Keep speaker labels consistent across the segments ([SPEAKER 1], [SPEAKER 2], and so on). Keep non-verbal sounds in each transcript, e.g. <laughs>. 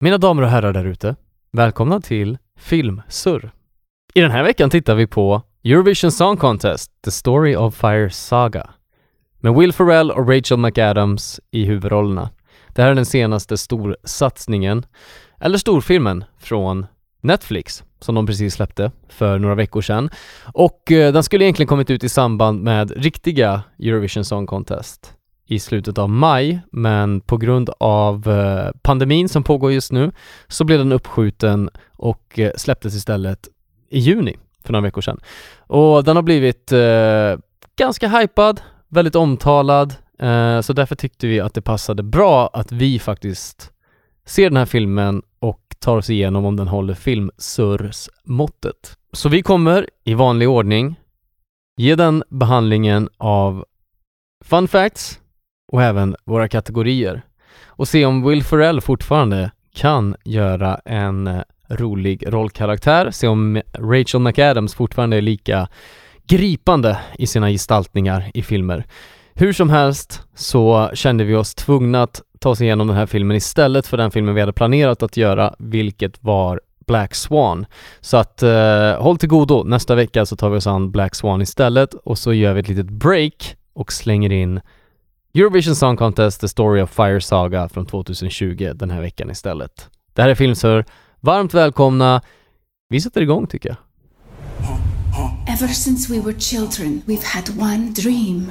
[SPEAKER 1] Mina damer och herrar där ute, välkomna till Filmsurr. I den här veckan tittar vi på Eurovision Song Contest, The Story of Fire Saga, med Will Ferrell och Rachel McAdams i huvudrollerna. Det här är den senaste storsatsningen, eller storfilmen, från Netflix som de precis släppte för några veckor sedan. Och eh, den skulle egentligen kommit ut i samband med riktiga Eurovision Song Contest i slutet av maj, men på grund av eh, pandemin som pågår just nu så blev den uppskjuten och eh, släpptes istället i juni för några veckor sedan. Och den har blivit eh, ganska hypad, väldigt omtalad, eh, så därför tyckte vi att det passade bra att vi faktiskt ser den här filmen och tar oss igenom om den håller filmsurrsmåttet. Så vi kommer i vanlig ordning ge den behandlingen av fun facts, och även våra kategorier och se om Will Ferrell fortfarande kan göra en eh, rolig rollkaraktär, se om Rachel McAdams fortfarande är lika gripande i sina gestaltningar i filmer. Hur som helst så kände vi oss tvungna att ta oss igenom den här filmen istället för den filmen vi hade planerat att göra, vilket var Black Swan. Så att eh, håll till godo, nästa vecka så tar vi oss an Black Swan istället och så gör vi ett litet break och slänger in Eurovision Song Contest, The Story of Fire Saga från 2020 den här veckan istället. Det här är Filmsur. Varmt välkomna. Vi sätter igång tycker jag.
[SPEAKER 2] Ever since we were children, we've had one dream.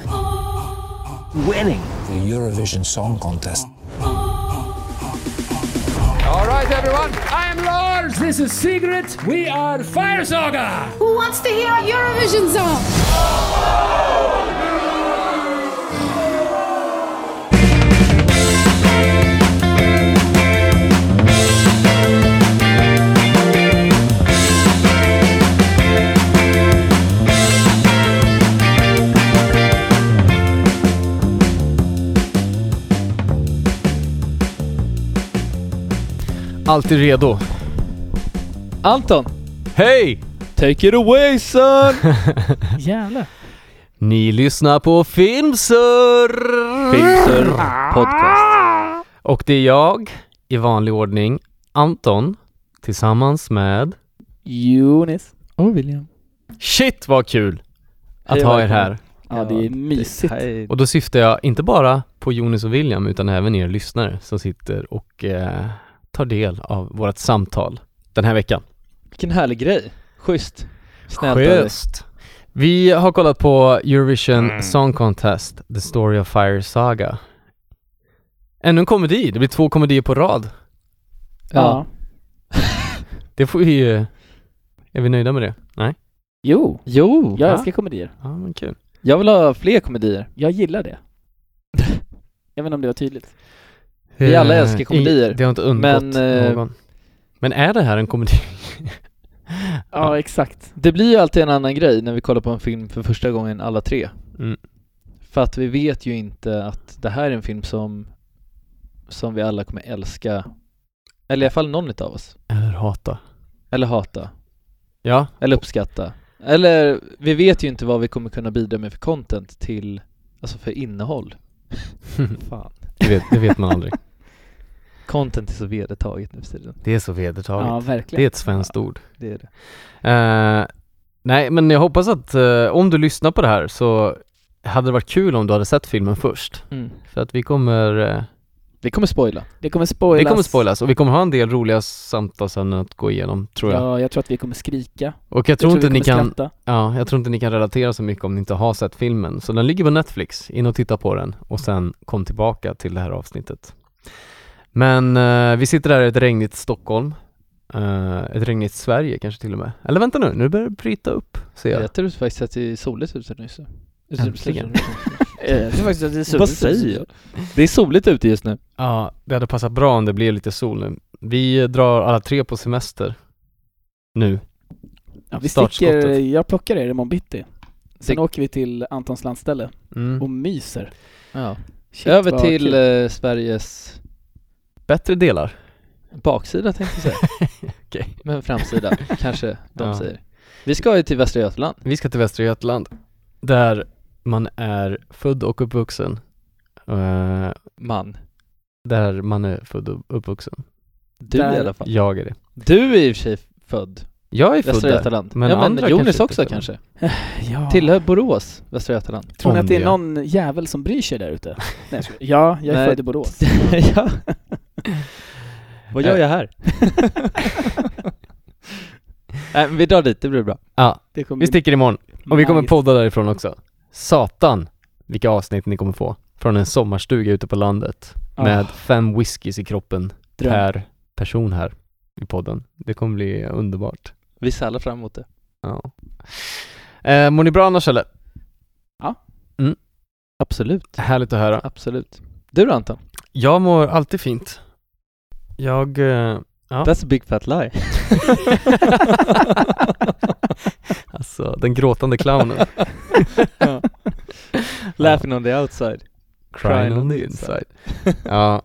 [SPEAKER 3] winning.
[SPEAKER 4] the Eurovision Song Contest.
[SPEAKER 3] All right, everyone. I am Lars. This is Sigrid. We are Fire Saga.
[SPEAKER 2] Who wants to hear a Eurovision song?
[SPEAKER 1] Alltid redo.
[SPEAKER 5] Anton,
[SPEAKER 1] Hej!
[SPEAKER 5] take it away son! Jävlar.
[SPEAKER 1] <laughs> Ni lyssnar på Filmsur!
[SPEAKER 5] Filter
[SPEAKER 6] Mm.
[SPEAKER 5] podcast.
[SPEAKER 1] Och det är jag, i vanlig ordning, Anton, tillsammans med...
[SPEAKER 5] Jonis. Och William.
[SPEAKER 1] Shit vad kul att
[SPEAKER 5] Hej,
[SPEAKER 1] ha er
[SPEAKER 5] välkommen.
[SPEAKER 1] här.
[SPEAKER 5] Ja, det är mysigt.
[SPEAKER 1] Och då syftar jag inte bara på Jonis och William utan även er lyssnare som sitter och eh, tar del av vårt samtal den här veckan.
[SPEAKER 5] Vilken härlig grej. Schysst. Snällt av dig.
[SPEAKER 1] Schysst. Mm. Vi har kollat på Eurovision Song Contest, The Story of Fire Saga. Ännu en komedi, det blir två komedier på rad.
[SPEAKER 5] Ja.
[SPEAKER 1] Det får vi ju... Är vi nöjda med det? Nej?
[SPEAKER 6] Jo,
[SPEAKER 5] Jo.
[SPEAKER 6] jag
[SPEAKER 1] Ja.
[SPEAKER 6] älskar komedier.
[SPEAKER 1] Ja, men kul.
[SPEAKER 5] Jag vill ha fler komedier.
[SPEAKER 6] Jag gillar det. <laughs> jag vet inte om det var tydligt.
[SPEAKER 5] Vi alla
[SPEAKER 1] Eh,
[SPEAKER 5] älskar
[SPEAKER 1] i-
[SPEAKER 5] komedier.
[SPEAKER 1] Det har inte undgått
[SPEAKER 5] Men, eh,
[SPEAKER 1] någon. Men är det här en komedi? <laughs>
[SPEAKER 6] Ja, exakt.
[SPEAKER 5] Det blir ju alltid en annan grej när vi kollar på en film för första gången alla tre.
[SPEAKER 1] Mm.
[SPEAKER 5] För att vi vet ju inte att det här är en film som, som vi alla kommer älska. Eller i alla fall någon av oss.
[SPEAKER 1] Eller hata?
[SPEAKER 5] Eller hata.
[SPEAKER 1] Ja, <laughs>
[SPEAKER 5] Eller uppskatta. Eller, vi vet ju inte vad vi kommer kunna bidra med för content till, alltså för innehåll. Fan.
[SPEAKER 1] det vet, det vet man aldrig.
[SPEAKER 5] Content är så vedertaget nu för tiden.
[SPEAKER 1] Det är så vedertaget.
[SPEAKER 6] Ja,
[SPEAKER 1] det är
[SPEAKER 6] verkligen.
[SPEAKER 1] ett svenskt ord.
[SPEAKER 5] Det är det.
[SPEAKER 1] Eh, nej, men jag hoppas att eh, om du lyssnar på det här så hade det varit kul om du hade sett filmen först.
[SPEAKER 5] Mm.
[SPEAKER 1] För att vi kommer, eh,
[SPEAKER 5] Vi kommer spoila.
[SPEAKER 6] Det kommer spoilas.
[SPEAKER 1] det kommer spoilas och vi kommer ha en del roliga samtalsämnen att gå igenom tror jag.
[SPEAKER 6] Ja, jag tror att vi kommer skrika.
[SPEAKER 1] och jag tror, inte ni
[SPEAKER 6] vi kommer
[SPEAKER 1] kan, <laughs>
[SPEAKER 6] skratta.
[SPEAKER 1] ja, jag tror inte ni kan relatera så mycket om ni inte har sett filmen. Så den ligger på Netflix, in och titta på den och sen kom tillbaka till det här avsnittet. Men eh, vi sitter här i ett regnigt Stockholm, eh, ett regnigt Sverige kanske till och med. Eller vänta nu, nu börjar det bryta upp ser jag.
[SPEAKER 5] Jag tror faktiskt att det är soligt ute nyss. <laughs>
[SPEAKER 1] Äntligen.
[SPEAKER 6] Eh, Jag tror faktiskt att det är så.
[SPEAKER 5] Vad säger jag? Det är soligt ute just nu.
[SPEAKER 1] Ja, det hade passat bra om det blev lite sol nu. Vi drar alla tre på semester. Nu.
[SPEAKER 6] Ja, vi
[SPEAKER 1] Startskottet.
[SPEAKER 6] sticker, jag plockar er imorgon bitti. Sen
[SPEAKER 5] Det-
[SPEAKER 6] åker vi till Antons landställe och
[SPEAKER 1] Mm.
[SPEAKER 6] myser.
[SPEAKER 5] Ja.
[SPEAKER 6] Shit,
[SPEAKER 5] Över
[SPEAKER 6] vad
[SPEAKER 5] till
[SPEAKER 6] kul.
[SPEAKER 5] eh, Sveriges
[SPEAKER 1] Bättre delar.
[SPEAKER 6] <laughs>
[SPEAKER 5] baksida tänkte jag säga.
[SPEAKER 1] <laughs> Okej.
[SPEAKER 5] Men framsida, kanske de
[SPEAKER 1] Ja.
[SPEAKER 5] säger. Vi ska ju till Västra Götaland.
[SPEAKER 1] Vi ska till Västra Götaland. Där man är född och uppvuxen. Eh,
[SPEAKER 5] Man.
[SPEAKER 1] där man är född och uppvuxen.
[SPEAKER 5] Du i
[SPEAKER 6] Där-
[SPEAKER 5] alla fall.
[SPEAKER 1] Jag är det.
[SPEAKER 5] Du är i och för sig född
[SPEAKER 1] jag är född
[SPEAKER 5] Västra
[SPEAKER 1] där.
[SPEAKER 5] Götaland.
[SPEAKER 1] Men
[SPEAKER 5] ja, men
[SPEAKER 1] andra
[SPEAKER 5] Jonas
[SPEAKER 1] kanske inte
[SPEAKER 5] också
[SPEAKER 1] är född.
[SPEAKER 5] kanske.
[SPEAKER 6] Ja.
[SPEAKER 5] Tillhör Borås, Västra Götaland.
[SPEAKER 6] Tror ni att eh, det är
[SPEAKER 1] Om
[SPEAKER 6] någon jävel som bryr sig där <laughs> ute? Nej, jag skojar. Ja, jag är
[SPEAKER 5] Nej.
[SPEAKER 6] född i Borås.
[SPEAKER 5] <laughs> ja. Vad gör jag här? <laughs> Nej, men vi drar dit, det blir bra.
[SPEAKER 1] Ja,
[SPEAKER 6] Det kommer
[SPEAKER 1] vi
[SPEAKER 6] bli
[SPEAKER 1] sticker imorgon. Och vi kommer
[SPEAKER 6] nice.
[SPEAKER 1] podda därifrån också. Satan vilka avsnitt ni kommer få. Från en sommarstuga ute på landet.
[SPEAKER 6] Ah,
[SPEAKER 1] Med fem whiskys i kroppen
[SPEAKER 6] dröm.
[SPEAKER 1] per person här i podden. Det kommer bli underbart.
[SPEAKER 5] Vi ser alla fram emot det.
[SPEAKER 1] Ja. Eh, mår ni bra annars eller?
[SPEAKER 5] Absolut,
[SPEAKER 1] Härligt att höra.
[SPEAKER 5] absolut. Du då Anton?
[SPEAKER 1] Jag mår alltid fint. Jag... Eh, Ja.
[SPEAKER 5] That's a big fat lie.
[SPEAKER 1] alltså, den gråtande <laughs> clownen.
[SPEAKER 5] <laughs> Ja. Laughing on the outside.
[SPEAKER 1] <laughs> Crying on the inside. ja,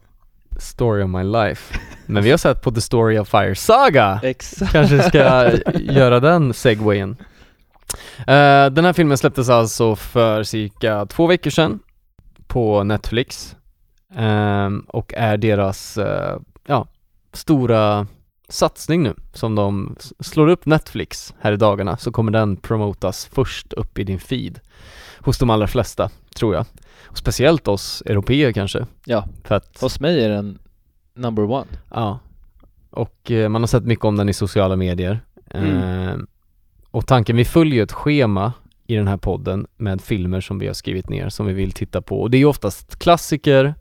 [SPEAKER 1] story of my life. Men vi har sett på The Story of Fire Saga.
[SPEAKER 5] Exakt.
[SPEAKER 1] Kanske ska göra den segwayen. Eh, den här filmen släpptes alltså för cirka två veckor sedan på Netflix Ehm, och är deras, eh, ja, stora satsning nu som de s- slår upp Netflix här i dagarna så kommer den promotas först upp i din feed hos de allra flesta, tror jag. Och speciellt oss européer kanske,
[SPEAKER 5] Ja,
[SPEAKER 1] för att
[SPEAKER 5] hos mig är den number one.
[SPEAKER 1] Ja. Och eh, man har sett mycket om den i sociala medier.
[SPEAKER 5] Mm.
[SPEAKER 1] Eh, och tanken, vi följer ju ett schema i den här podden med filmer som vi har skrivit ner som vi vill titta på. Och det är ju oftast klassiker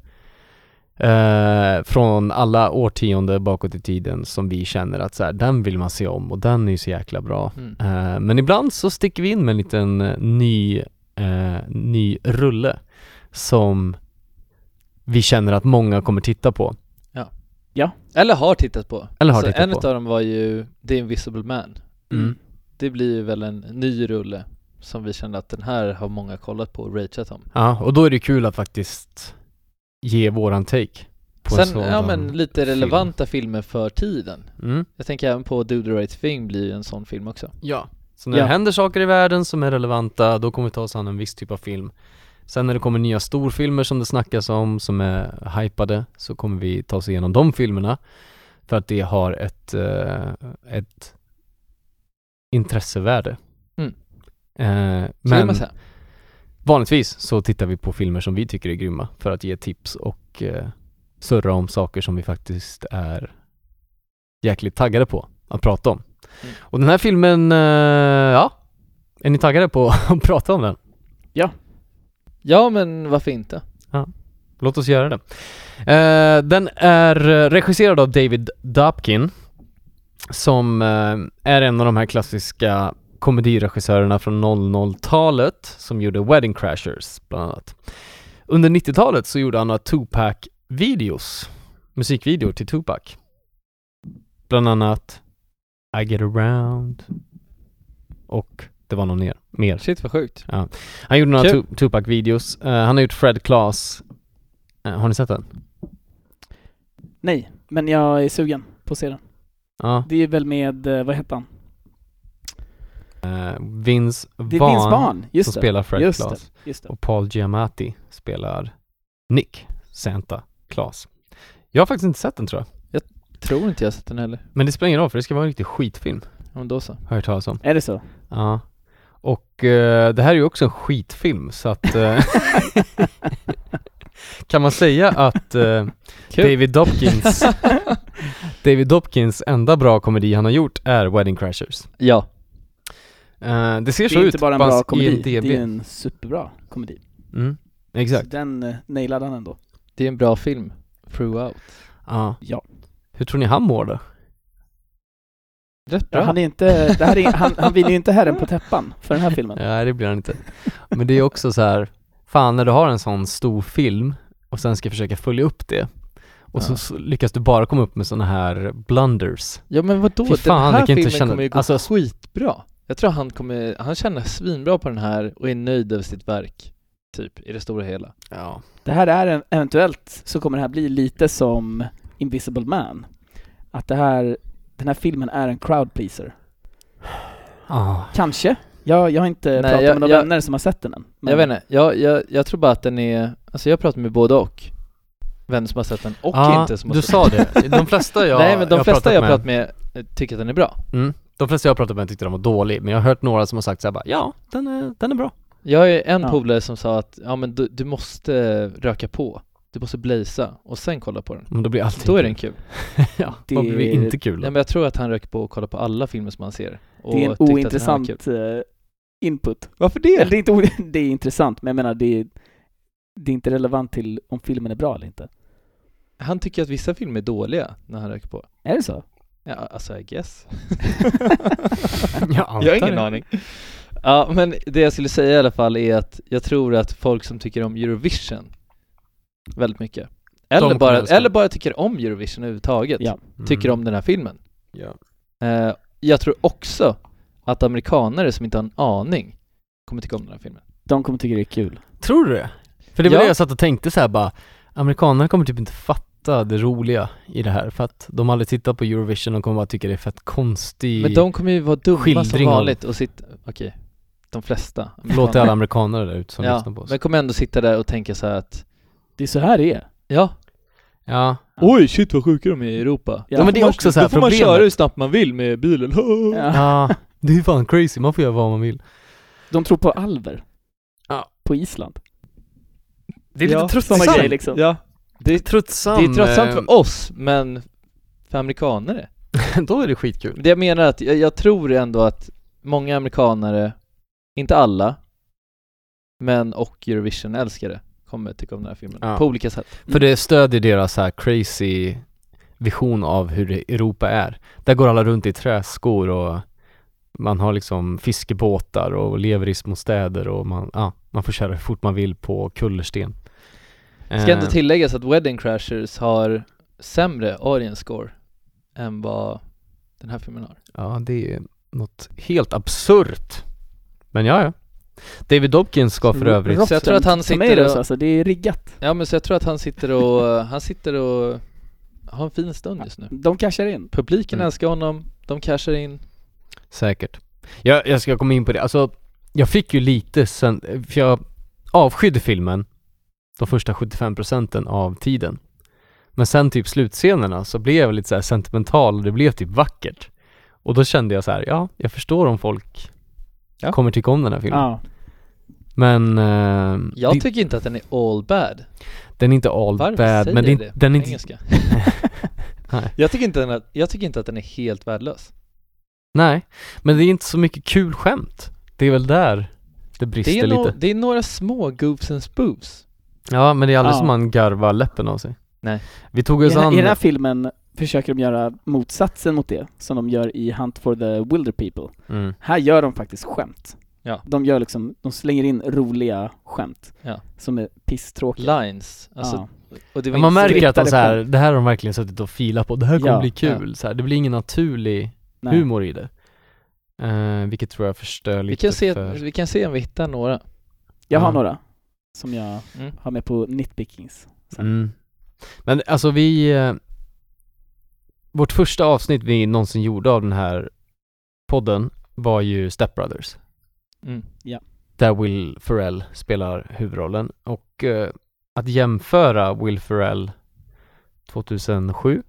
[SPEAKER 1] eh, från alla årtionde bakåt i tiden som vi känner att så här, den vill man se om och den är ju så jäkla bra.
[SPEAKER 5] Mm.
[SPEAKER 1] Eh, men ibland så sticker vi in med en liten eh, ny, eh, ny rulle som vi känner att många kommer titta på.
[SPEAKER 5] Eller har tittat på.
[SPEAKER 1] Eller har
[SPEAKER 5] Så
[SPEAKER 1] tittat
[SPEAKER 5] en
[SPEAKER 1] på.
[SPEAKER 5] av dem var ju The Invisible Man.
[SPEAKER 1] Mm.
[SPEAKER 5] Det blir ju väl en ny rulle som vi kände att den här har många kollat på och rageat om.
[SPEAKER 1] Ja, och då är det kul att faktiskt ge våran take på en
[SPEAKER 5] Sen,
[SPEAKER 1] sådan
[SPEAKER 5] ja men lite
[SPEAKER 1] film.
[SPEAKER 5] relevanta filmer för tiden.
[SPEAKER 1] Mm.
[SPEAKER 5] Jag tänker även på Do the Right Thing blir ju en sån film också.
[SPEAKER 1] Ja. Så när
[SPEAKER 6] Ja.
[SPEAKER 1] det händer saker i världen som är relevanta, då kommer vi ta oss an en viss typ av film. Sen när det kommer nya storfilmer som det snackas om, som är hypade, så kommer vi ta oss igenom de filmerna. För att det har ett, eh, ett intressevärde.
[SPEAKER 5] Mm.
[SPEAKER 1] Eh,
[SPEAKER 5] Så men,
[SPEAKER 1] men
[SPEAKER 5] man säga.
[SPEAKER 1] Vanligtvis så tittar vi på filmer som vi tycker är grymma för att ge tips och eh, surra om saker som vi faktiskt är jäkligt taggade på att prata om.
[SPEAKER 5] Mm.
[SPEAKER 1] Och den här filmen, eh, ja, är ni taggade på <laughs> att prata om den?
[SPEAKER 5] Ja men varför inte?
[SPEAKER 1] Låt oss göra det. Eh, den är eh, regisserad av David Dapkin som eh, är en av de här klassiska komediregissörerna från 00-talet som gjorde Wedding Crashers bland annat. Under 90-talet så gjorde han några Tupac-videos, musikvideor till Tupac. Bland annat I Get Around och det var någon mer. mer.
[SPEAKER 5] Shit vad sjukt.
[SPEAKER 1] Han gjorde några
[SPEAKER 5] Kul.
[SPEAKER 1] tu- Tupac-videos. Eh, han har gjort Fred Claus. Eh, har ni sett den?
[SPEAKER 6] Nej, men jag är sugen på att se den.
[SPEAKER 1] Ja.
[SPEAKER 6] Det är väl med, eh, vad heter han?
[SPEAKER 1] Eh, Vince Vaughn
[SPEAKER 6] Det är Vince Vaughn, just
[SPEAKER 1] som
[SPEAKER 6] det.
[SPEAKER 1] spelar Fred
[SPEAKER 6] Just
[SPEAKER 1] Claus.
[SPEAKER 6] det, just det.
[SPEAKER 1] Och Paul Giamatti spelar Nick Santa Claus. Jag har faktiskt inte sett den tror jag.
[SPEAKER 5] Tror inte jag har sett den heller.
[SPEAKER 1] Men det spelar ingen roll för det ska vara en riktig skitfilm,
[SPEAKER 5] Ja, Men då så.
[SPEAKER 1] har jag hört talas om.
[SPEAKER 6] Är det <laughs> så?
[SPEAKER 1] Ja. Och eh, det här är ju också en skitfilm så att eh, <laughs> kan man säga att eh,
[SPEAKER 5] Kul.
[SPEAKER 1] David Dopkins
[SPEAKER 6] <laughs>
[SPEAKER 1] David Dopkins enda bra komedi han har gjort är Wedding Crashers.
[SPEAKER 5] Ja.
[SPEAKER 1] Eh, det ser
[SPEAKER 6] <laughs> Det
[SPEAKER 1] så
[SPEAKER 6] är
[SPEAKER 1] ut
[SPEAKER 6] inte bara en
[SPEAKER 1] på hans
[SPEAKER 6] bra komedi,
[SPEAKER 1] IMDb.
[SPEAKER 6] det är en superbra komedi.
[SPEAKER 1] Mm, exakt.
[SPEAKER 6] Så den eh, nailade han ändå.
[SPEAKER 5] Det är en bra film. Throughout.
[SPEAKER 1] Ja.
[SPEAKER 6] Ja.
[SPEAKER 1] Hur tror ni han mår då?
[SPEAKER 5] Rätt
[SPEAKER 6] Ja,
[SPEAKER 5] bra.
[SPEAKER 6] han, är inte, det här är, han, han vinner ju inte herren på täppan för den här filmen.
[SPEAKER 1] <laughs> Nej, det blir han inte. Men det är också så här, fan när du har en sån stor film och sen ska försöka följa upp det och så,
[SPEAKER 5] Ja.
[SPEAKER 1] så lyckas du bara komma upp med såna här blunders.
[SPEAKER 5] Ja men vadå?
[SPEAKER 1] Fy fan,
[SPEAKER 5] den här
[SPEAKER 1] det kan inte
[SPEAKER 5] filmen
[SPEAKER 1] känna-
[SPEAKER 5] kommer ju gå
[SPEAKER 1] alltså-
[SPEAKER 5] skitbra. Jag tror han kommer, han känner svinbra på den här och är nöjd över sitt verk. Typ, i det stora hela.
[SPEAKER 1] Ja.
[SPEAKER 6] Det här är en, eventuellt så kommer det här bli lite som Invisible Man. Att det här, den här filmen är en crowd pleaser.
[SPEAKER 1] Ah.
[SPEAKER 6] Kanske. Jag, jag har inte
[SPEAKER 5] Nej,
[SPEAKER 6] pratat
[SPEAKER 5] jag-
[SPEAKER 6] med några
[SPEAKER 5] jag-
[SPEAKER 6] vänner som har sett den än. men-
[SPEAKER 5] Jag vet inte, jag, jag, jag tror bara att den är, alltså jag pratar med både och. vem som har sett den och
[SPEAKER 1] Ja,
[SPEAKER 5] inte som har
[SPEAKER 1] Ah, du
[SPEAKER 5] sett
[SPEAKER 1] sa det. De flesta jag
[SPEAKER 5] <laughs> Nej men de
[SPEAKER 1] jag
[SPEAKER 5] flesta jag pratat med eh, tycker att den är bra.
[SPEAKER 1] Mm. De flesta jag pratat med tyckte den var dålig, men jag har hört några som har sagt såhär bara, ja, den är, den är bra.
[SPEAKER 5] Jag har ju en
[SPEAKER 6] Ja.
[SPEAKER 5] polare som sa att ja men du, du måste röka på, du måste blaza och sen kolla på den.
[SPEAKER 1] Men då blir allting
[SPEAKER 5] Då är den kul.
[SPEAKER 1] <laughs> ja,
[SPEAKER 6] Det-
[SPEAKER 1] då blir det inte kul.
[SPEAKER 5] Nej men jag tror att han röker på och kollar på alla filmer som han ser. Och
[SPEAKER 6] Det är en
[SPEAKER 5] tyckte att den här var kul.
[SPEAKER 6] ointressant eh, input.
[SPEAKER 5] Varför
[SPEAKER 6] Eller
[SPEAKER 5] det?
[SPEAKER 6] det är inte o- <laughs> det är intressant, men jag menar det är, det är inte relevant till om filmen är bra eller inte.
[SPEAKER 5] Han tycker att vissa filmer är dåliga när han röker på.
[SPEAKER 6] Är det så?
[SPEAKER 5] Ja, alltså I guess.
[SPEAKER 1] <laughs> jag antar
[SPEAKER 5] Jag har ingen
[SPEAKER 1] det.
[SPEAKER 5] aning. Ja, men det jag skulle säga i alla fall är att jag tror att folk som tycker om Eurovision väldigt mycket, eller,
[SPEAKER 1] kommer
[SPEAKER 5] bara,
[SPEAKER 1] älska den.
[SPEAKER 5] eller bara tycker om Eurovision överhuvudtaget,
[SPEAKER 6] Ja.
[SPEAKER 1] Mm.
[SPEAKER 5] tycker om den här filmen.
[SPEAKER 1] Ja.
[SPEAKER 5] Eh, jag tror också att amerikanare som inte har en aning kommer tycka om den här filmen.
[SPEAKER 6] De kommer tycka det är kul.
[SPEAKER 1] Tror du det? För det var
[SPEAKER 5] Ja.
[SPEAKER 1] det jag satt och tänkte så här bara, amerikanerna kommer typ inte fatta det roliga i det här för att de har aldrig tittat på Eurovision och kommer bara tycka det är fett konstig
[SPEAKER 5] Men de kommer ju vara dumma som
[SPEAKER 1] Skildring av-
[SPEAKER 5] vanligt och sitta, okej, de flesta.
[SPEAKER 1] Låt
[SPEAKER 5] <laughs>
[SPEAKER 1] alla amerikaner där ute som
[SPEAKER 5] ja,
[SPEAKER 1] lyssnar på oss.
[SPEAKER 5] men kommer ändå sitta där och tänka så här att,
[SPEAKER 6] Det är så här det är.
[SPEAKER 5] ja,
[SPEAKER 1] Ja,
[SPEAKER 5] Oj shit vad sjuka de är i Europa.
[SPEAKER 6] Ja,
[SPEAKER 5] Då
[SPEAKER 1] men det är
[SPEAKER 5] får man-
[SPEAKER 1] också så här
[SPEAKER 5] Då får man
[SPEAKER 1] problemet.
[SPEAKER 5] köra hur snabbt man vill med bilen. <laughs>
[SPEAKER 6] Ja.
[SPEAKER 1] ja, det är fan crazy, man får göra vad man vill.
[SPEAKER 6] De tror på alver.
[SPEAKER 1] Ja.
[SPEAKER 6] På Island.
[SPEAKER 1] Det är
[SPEAKER 5] Ja,
[SPEAKER 1] lite
[SPEAKER 6] Sådana
[SPEAKER 1] tröttsamt.
[SPEAKER 6] grejer liksom.
[SPEAKER 5] Ja.
[SPEAKER 1] Det är tröttsamt.
[SPEAKER 5] Det är tröttsamt
[SPEAKER 1] eh,
[SPEAKER 5] för oss, men för amerikanare.
[SPEAKER 1] Då är det skitkul.
[SPEAKER 5] Det jag menar är att jag, jag tror ändå att många amerikanare, inte alla, men och Eurovision-älskare kommer tycka om den här filmen.
[SPEAKER 1] Ja.
[SPEAKER 5] På olika sätt.
[SPEAKER 1] För det stödjer deras så här crazy vision av hur det- Europa är. Där går alla runt i träskor och man har liksom fiskebåtar och lever i små städer och man, ja, man får köra hur fort man vill på kullersten.
[SPEAKER 5] Ska
[SPEAKER 1] Eh,
[SPEAKER 5] ändå tilläggas att Wedding Crashers har sämre audience score än vad den här filmen har.
[SPEAKER 1] Ja, det är något helt absurt. Men ja, ja. David Dobkins ska för
[SPEAKER 6] Ro-
[SPEAKER 1] övrigt...
[SPEAKER 6] Rotten
[SPEAKER 5] jag tror att han sitter
[SPEAKER 6] Tomatoes,
[SPEAKER 5] och-
[SPEAKER 6] alltså, det är riggat.
[SPEAKER 5] Ja men så jag tror att han sitter
[SPEAKER 1] <laughs>
[SPEAKER 5] och, han sitter och har en fin stund just nu.
[SPEAKER 6] De cashar in.
[SPEAKER 5] Publiken
[SPEAKER 1] Mm.
[SPEAKER 5] älskar honom, de cashar in.
[SPEAKER 1] Säkert. Jag, jag ska komma in på det. Alltså, jag fick ju lite sen, för jag avskydde filmen de första 75 procenten av tiden. Men sen typ slutscenerna så blev jag lite så här sentimental och det blev typ vackert. Och då kände jag så här, ja, jag förstår om folk
[SPEAKER 5] Ja.
[SPEAKER 1] kommer tycka om den här filmen.
[SPEAKER 6] Ja.
[SPEAKER 1] Men eh,
[SPEAKER 5] Jag
[SPEAKER 1] det-
[SPEAKER 5] tycker inte att den är all bad.
[SPEAKER 1] den är inte all
[SPEAKER 5] Varför
[SPEAKER 1] bad,
[SPEAKER 5] säger
[SPEAKER 1] men det, är
[SPEAKER 5] jag
[SPEAKER 1] inte-
[SPEAKER 5] det?
[SPEAKER 1] den är inte, <laughs>
[SPEAKER 5] Engelska.
[SPEAKER 1] Nej.
[SPEAKER 5] jag, tycker inte den att, jag tycker inte att den är helt värdelös.
[SPEAKER 1] nej, men det är inte så mycket kul skämt. Det är väl där det brister
[SPEAKER 5] Det är, no,
[SPEAKER 1] lite.
[SPEAKER 5] det är några små goofs and spoofs.
[SPEAKER 1] Ja, men det är aldrig
[SPEAKER 6] Ja.
[SPEAKER 1] som man garvar läppen av sig.
[SPEAKER 5] Nej.
[SPEAKER 1] Vi tog
[SPEAKER 6] I,
[SPEAKER 1] oss
[SPEAKER 6] den här,
[SPEAKER 1] an...
[SPEAKER 6] I den här filmen försöker de göra motsatsen mot det, som de gör i Hunt for the Wilder People.
[SPEAKER 1] Mm.
[SPEAKER 6] Här gör de faktiskt skämt.
[SPEAKER 5] Ja.
[SPEAKER 6] De gör liksom, de slänger in roliga skämt.
[SPEAKER 5] Ja.
[SPEAKER 6] Som är pisstråkiga.
[SPEAKER 5] Lines. Alltså,
[SPEAKER 6] ja.
[SPEAKER 5] och det var
[SPEAKER 1] Men man
[SPEAKER 5] inte-
[SPEAKER 1] märker att de
[SPEAKER 6] riktade
[SPEAKER 1] så här, det här har de verkligen suttit och filat på, det här kommer
[SPEAKER 6] Ja,
[SPEAKER 1] bli kul. Så här, det blir ingen naturlig
[SPEAKER 6] Nej.
[SPEAKER 1] humor i det. Eh, vilket tror jag förstör
[SPEAKER 5] vi,
[SPEAKER 1] lite
[SPEAKER 5] kan se, Mm.
[SPEAKER 1] för...
[SPEAKER 5] vi kan se om vi hittar några.
[SPEAKER 6] Jag har
[SPEAKER 1] Ja.
[SPEAKER 6] några som jag
[SPEAKER 5] Mm.
[SPEAKER 6] har med på nitpickings.
[SPEAKER 1] Mm. Men alltså vi... eh, Vårt första avsnitt vi någonsin gjorde av den här podden var ju Step Brothers.
[SPEAKER 5] Mm.
[SPEAKER 1] där Will Ferrell spelar huvudrollen och eh, att jämföra Will Ferrell 2007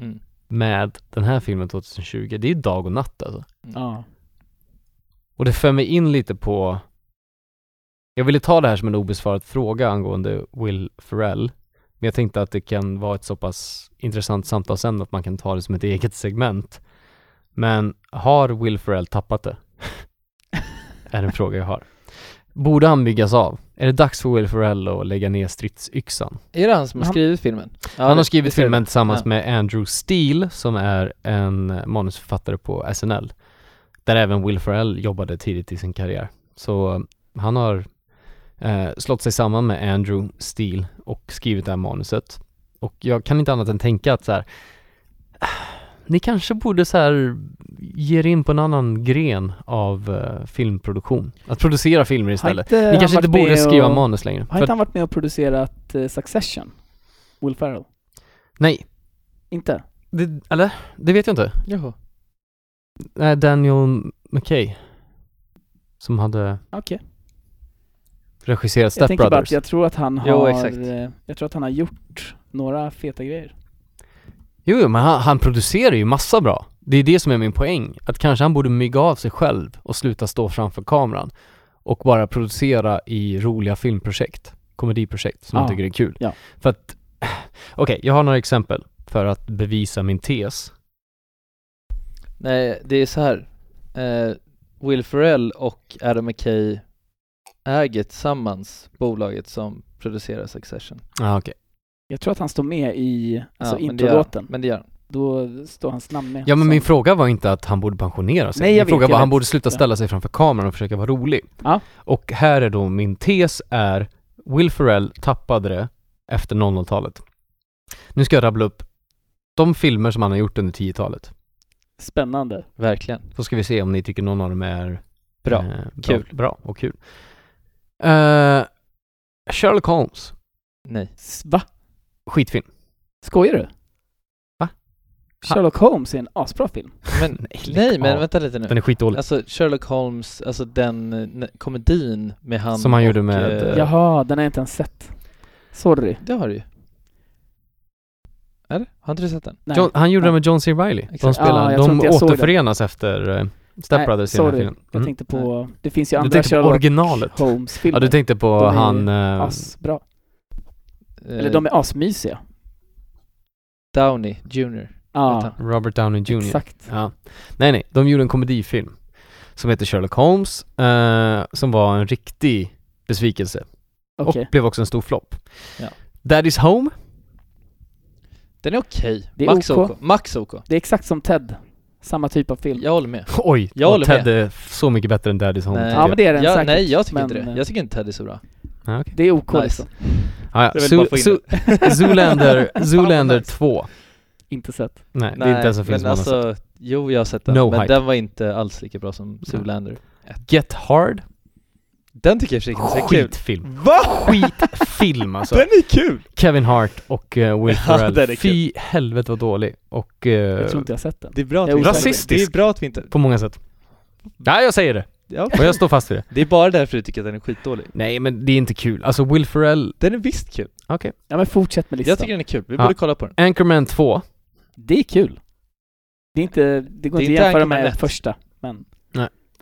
[SPEAKER 5] Mm.
[SPEAKER 1] med den här filmen 2020, det är dag och natt alltså.
[SPEAKER 6] Ja.
[SPEAKER 1] Och det för mig in lite på jag ville ta det här som en obesvarad fråga angående Will Ferrell, men jag tänkte att det kan vara ett så pass intressant samtalsämne att man kan ta det som ett eget segment. Men har Will Ferrell tappat det? <laughs> är en fråga jag har. Borde han byggas av? Är det dags för Will Ferrell att lägga ner stridsyxan?
[SPEAKER 5] Är det han som har
[SPEAKER 6] Han-
[SPEAKER 5] skrivit filmen? Ja,
[SPEAKER 1] han
[SPEAKER 5] det-
[SPEAKER 1] har
[SPEAKER 5] det
[SPEAKER 1] skrivit
[SPEAKER 5] ser
[SPEAKER 1] filmen tillsammans
[SPEAKER 5] Ja.
[SPEAKER 1] med Andrew Steele som är en manusförfattare på SNL. Där även Will Ferrell jobbade tidigt i sin karriär. Så eh, han har eh, slått sig samman med Andrew Steele och skrivit det här manuset. Och jag kan inte annat än tänka att så här. "Ah, Ni kanske borde så här ge er in på en annan gren av eh, filmproduktion. Att producera filmer istället.
[SPEAKER 6] Har
[SPEAKER 1] Ni
[SPEAKER 6] han
[SPEAKER 1] kanske inte
[SPEAKER 6] varit
[SPEAKER 1] borde
[SPEAKER 6] med
[SPEAKER 1] skriva
[SPEAKER 6] och,
[SPEAKER 1] manus längre.
[SPEAKER 6] Har
[SPEAKER 1] För
[SPEAKER 6] inte
[SPEAKER 1] att,
[SPEAKER 6] han varit med och producerat eh, Succession? Will Ferrell?
[SPEAKER 1] nej,
[SPEAKER 6] Inte?
[SPEAKER 1] det, eller? Det vet jag inte.
[SPEAKER 5] Jaha.
[SPEAKER 1] Nej, Daniel McKay. Som hade
[SPEAKER 6] Okej.
[SPEAKER 1] regisserat
[SPEAKER 6] Jag
[SPEAKER 1] Step
[SPEAKER 6] tänker bara
[SPEAKER 1] Brothers.
[SPEAKER 6] att jag tror att han har...
[SPEAKER 5] Jo, exakt.
[SPEAKER 6] eh, Jag tror att han har gjort några feta grejer.
[SPEAKER 1] Jo, jo, men han, han producerar ju massa bra. Det är det som är min poäng. Att kanske han borde mygga av sig själv och sluta stå framför kameran och bara producera i roliga filmprojekt, komediprojekt som
[SPEAKER 6] Ja.
[SPEAKER 1] han tycker är kul.
[SPEAKER 6] Ja.
[SPEAKER 1] För att, okej, jag har några exempel för att bevisa min tes.
[SPEAKER 5] Nej, det är så här. Eh, Will Ferrell och Adam McKay äger tillsammans bolaget som producerar Succession.
[SPEAKER 1] Ah, okej.
[SPEAKER 6] Jag tror att han står med i alltså
[SPEAKER 5] men det gör-
[SPEAKER 6] introlåten.
[SPEAKER 5] Men det gör han.
[SPEAKER 6] Då står hans namn med.
[SPEAKER 1] Ja men
[SPEAKER 6] Så-
[SPEAKER 1] min fråga var inte att han borde pensionera sig.
[SPEAKER 6] Nej, jag
[SPEAKER 1] min
[SPEAKER 6] vet,
[SPEAKER 1] fråga
[SPEAKER 6] jag
[SPEAKER 1] var att han
[SPEAKER 6] vet.
[SPEAKER 1] borde sluta
[SPEAKER 6] Ja.
[SPEAKER 1] ställa sig framför kameran och försöka vara rolig.
[SPEAKER 6] Ja.
[SPEAKER 1] Och här är då min tes är Will Ferrell tappade det efter 00-talet. Nu ska jag rabbla upp de filmer som han har gjort under 10-talet.
[SPEAKER 6] Spännande.
[SPEAKER 5] Verkligen.
[SPEAKER 1] Så ska vi se om ni tycker någon av dem är
[SPEAKER 5] Bra.
[SPEAKER 1] eh, bra,
[SPEAKER 5] Kul.
[SPEAKER 1] bra och kul. Eh, Sherlock Holmes, <laughs>
[SPEAKER 5] Nej.
[SPEAKER 6] S- Va?
[SPEAKER 1] skitfilm.
[SPEAKER 6] Skojar du?
[SPEAKER 1] Va?
[SPEAKER 6] Sherlock Holmes är en asbra film.
[SPEAKER 5] Men,
[SPEAKER 1] Nej,
[SPEAKER 5] nej,
[SPEAKER 1] lägg
[SPEAKER 5] men
[SPEAKER 1] av.
[SPEAKER 5] vänta lite nu.
[SPEAKER 1] Den är skitdålig.
[SPEAKER 5] Alltså Sherlock Holmes, alltså den eh, ne- komedin med han
[SPEAKER 1] Som han
[SPEAKER 5] och,
[SPEAKER 1] gjorde med,
[SPEAKER 5] eh,
[SPEAKER 1] Eh.
[SPEAKER 6] Jaha, den har jag inte ens sett. Sorry.
[SPEAKER 5] Det har du ju. Eller? Har inte du sett den?
[SPEAKER 6] Nej.
[SPEAKER 1] John, han gjorde
[SPEAKER 6] Ja.
[SPEAKER 1] det med John C. Reilly. De,
[SPEAKER 5] Exakt.
[SPEAKER 1] spelar,
[SPEAKER 6] Ah, jag tror
[SPEAKER 1] de
[SPEAKER 6] inte jag såg den.
[SPEAKER 1] återförenas efter eh, Step
[SPEAKER 6] Nej,
[SPEAKER 1] Brothers i den här
[SPEAKER 6] sorry.
[SPEAKER 1] filmen.
[SPEAKER 6] Jag
[SPEAKER 1] Mm.
[SPEAKER 6] tänkte på, det finns ju
[SPEAKER 1] Du
[SPEAKER 6] andra
[SPEAKER 1] tänkte på
[SPEAKER 6] Sherlock
[SPEAKER 1] originalet.
[SPEAKER 6] Holmes-filmer.
[SPEAKER 1] Ja, du tänkte på
[SPEAKER 6] De är
[SPEAKER 1] han... eh,
[SPEAKER 6] Asbra.
[SPEAKER 5] Eh,
[SPEAKER 6] Eller de är asmysiga.
[SPEAKER 5] Downey Jr.
[SPEAKER 6] Ja,
[SPEAKER 5] Vänta.
[SPEAKER 1] Robert Downey Jr.
[SPEAKER 6] exakt.
[SPEAKER 1] Ja. Nej, nej. De gjorde en komedifilm som heter Sherlock Holmes, eh, som var en riktig besvikelse.
[SPEAKER 6] Okej.
[SPEAKER 1] Och blev också en stor flopp.
[SPEAKER 5] Ja.
[SPEAKER 1] Daddy's Home, <laughs>
[SPEAKER 5] Den är okej.
[SPEAKER 6] Det är
[SPEAKER 5] Max
[SPEAKER 6] OK.
[SPEAKER 5] OK. Max OK.
[SPEAKER 6] Det är exakt som Ted. Samma typ av film.
[SPEAKER 5] Jag håller med.
[SPEAKER 1] oj,
[SPEAKER 5] Jag
[SPEAKER 1] och
[SPEAKER 5] håller
[SPEAKER 1] Ted
[SPEAKER 5] med.
[SPEAKER 1] är f- så mycket bättre än Daddy's Home.
[SPEAKER 5] Nej.
[SPEAKER 1] tycker
[SPEAKER 6] Ja, men det är den
[SPEAKER 5] Ja,
[SPEAKER 6] säkert.
[SPEAKER 5] nej, jag tycker
[SPEAKER 6] men,
[SPEAKER 5] inte det.
[SPEAKER 6] eh,
[SPEAKER 5] Jag tycker inte Ted är så bra.
[SPEAKER 1] jag. Ja, okej.
[SPEAKER 6] Det är OK
[SPEAKER 5] Nice.
[SPEAKER 6] liksom.
[SPEAKER 1] Ah, ja.
[SPEAKER 5] Jag ville bara få
[SPEAKER 1] <laughs>
[SPEAKER 5] in
[SPEAKER 1] Zoo-
[SPEAKER 5] <laughs>
[SPEAKER 1] Zoo- Zoolander, Zoolander
[SPEAKER 5] nice.
[SPEAKER 1] 2.
[SPEAKER 6] Inte sett.
[SPEAKER 1] Nej, det är inte ens en film
[SPEAKER 5] men
[SPEAKER 1] som man har sett.
[SPEAKER 5] alltså, jo jag har sett den,
[SPEAKER 1] No
[SPEAKER 5] men
[SPEAKER 1] hype.
[SPEAKER 5] den var inte alls lika bra som Zoolander.
[SPEAKER 1] Get Hard,
[SPEAKER 5] Den tycker jag i och för sig inte är kul. Alltså,
[SPEAKER 1] skitfilm.
[SPEAKER 5] Va?
[SPEAKER 1] Skitfilm alltså.
[SPEAKER 5] är kul!
[SPEAKER 1] Kevin Hart och eh, Will
[SPEAKER 5] Ja,
[SPEAKER 1] Ferrell.
[SPEAKER 5] den är kul.
[SPEAKER 1] Fy helvete vad dålig. Och
[SPEAKER 6] Jag
[SPEAKER 1] eh,
[SPEAKER 6] tror inte jag har sett den.
[SPEAKER 5] Det är bra att
[SPEAKER 6] Jag är
[SPEAKER 5] vi
[SPEAKER 1] rasistisk.
[SPEAKER 5] Det är bra att vi inte...
[SPEAKER 1] på många sätt. Nej, jag säger det.
[SPEAKER 5] Ja.
[SPEAKER 1] Och jag står fast vid det.
[SPEAKER 5] Det är bara därför du tycker att den är skitdålig.
[SPEAKER 1] Nej, men det är inte kul. Alltså Will Ferrell,
[SPEAKER 5] Den är visst kul.
[SPEAKER 1] okej.
[SPEAKER 6] Ja men fortsätt med listan.
[SPEAKER 5] Jag tycker den är kul, vi
[SPEAKER 1] Ja.
[SPEAKER 5] borde kolla på den.
[SPEAKER 1] Anchorman 2.
[SPEAKER 6] Det är kul. Det är inte, det går
[SPEAKER 5] Det är
[SPEAKER 6] inte
[SPEAKER 5] inte
[SPEAKER 6] att jämföra
[SPEAKER 5] Anchorman
[SPEAKER 6] med
[SPEAKER 5] ett.
[SPEAKER 6] första. Men.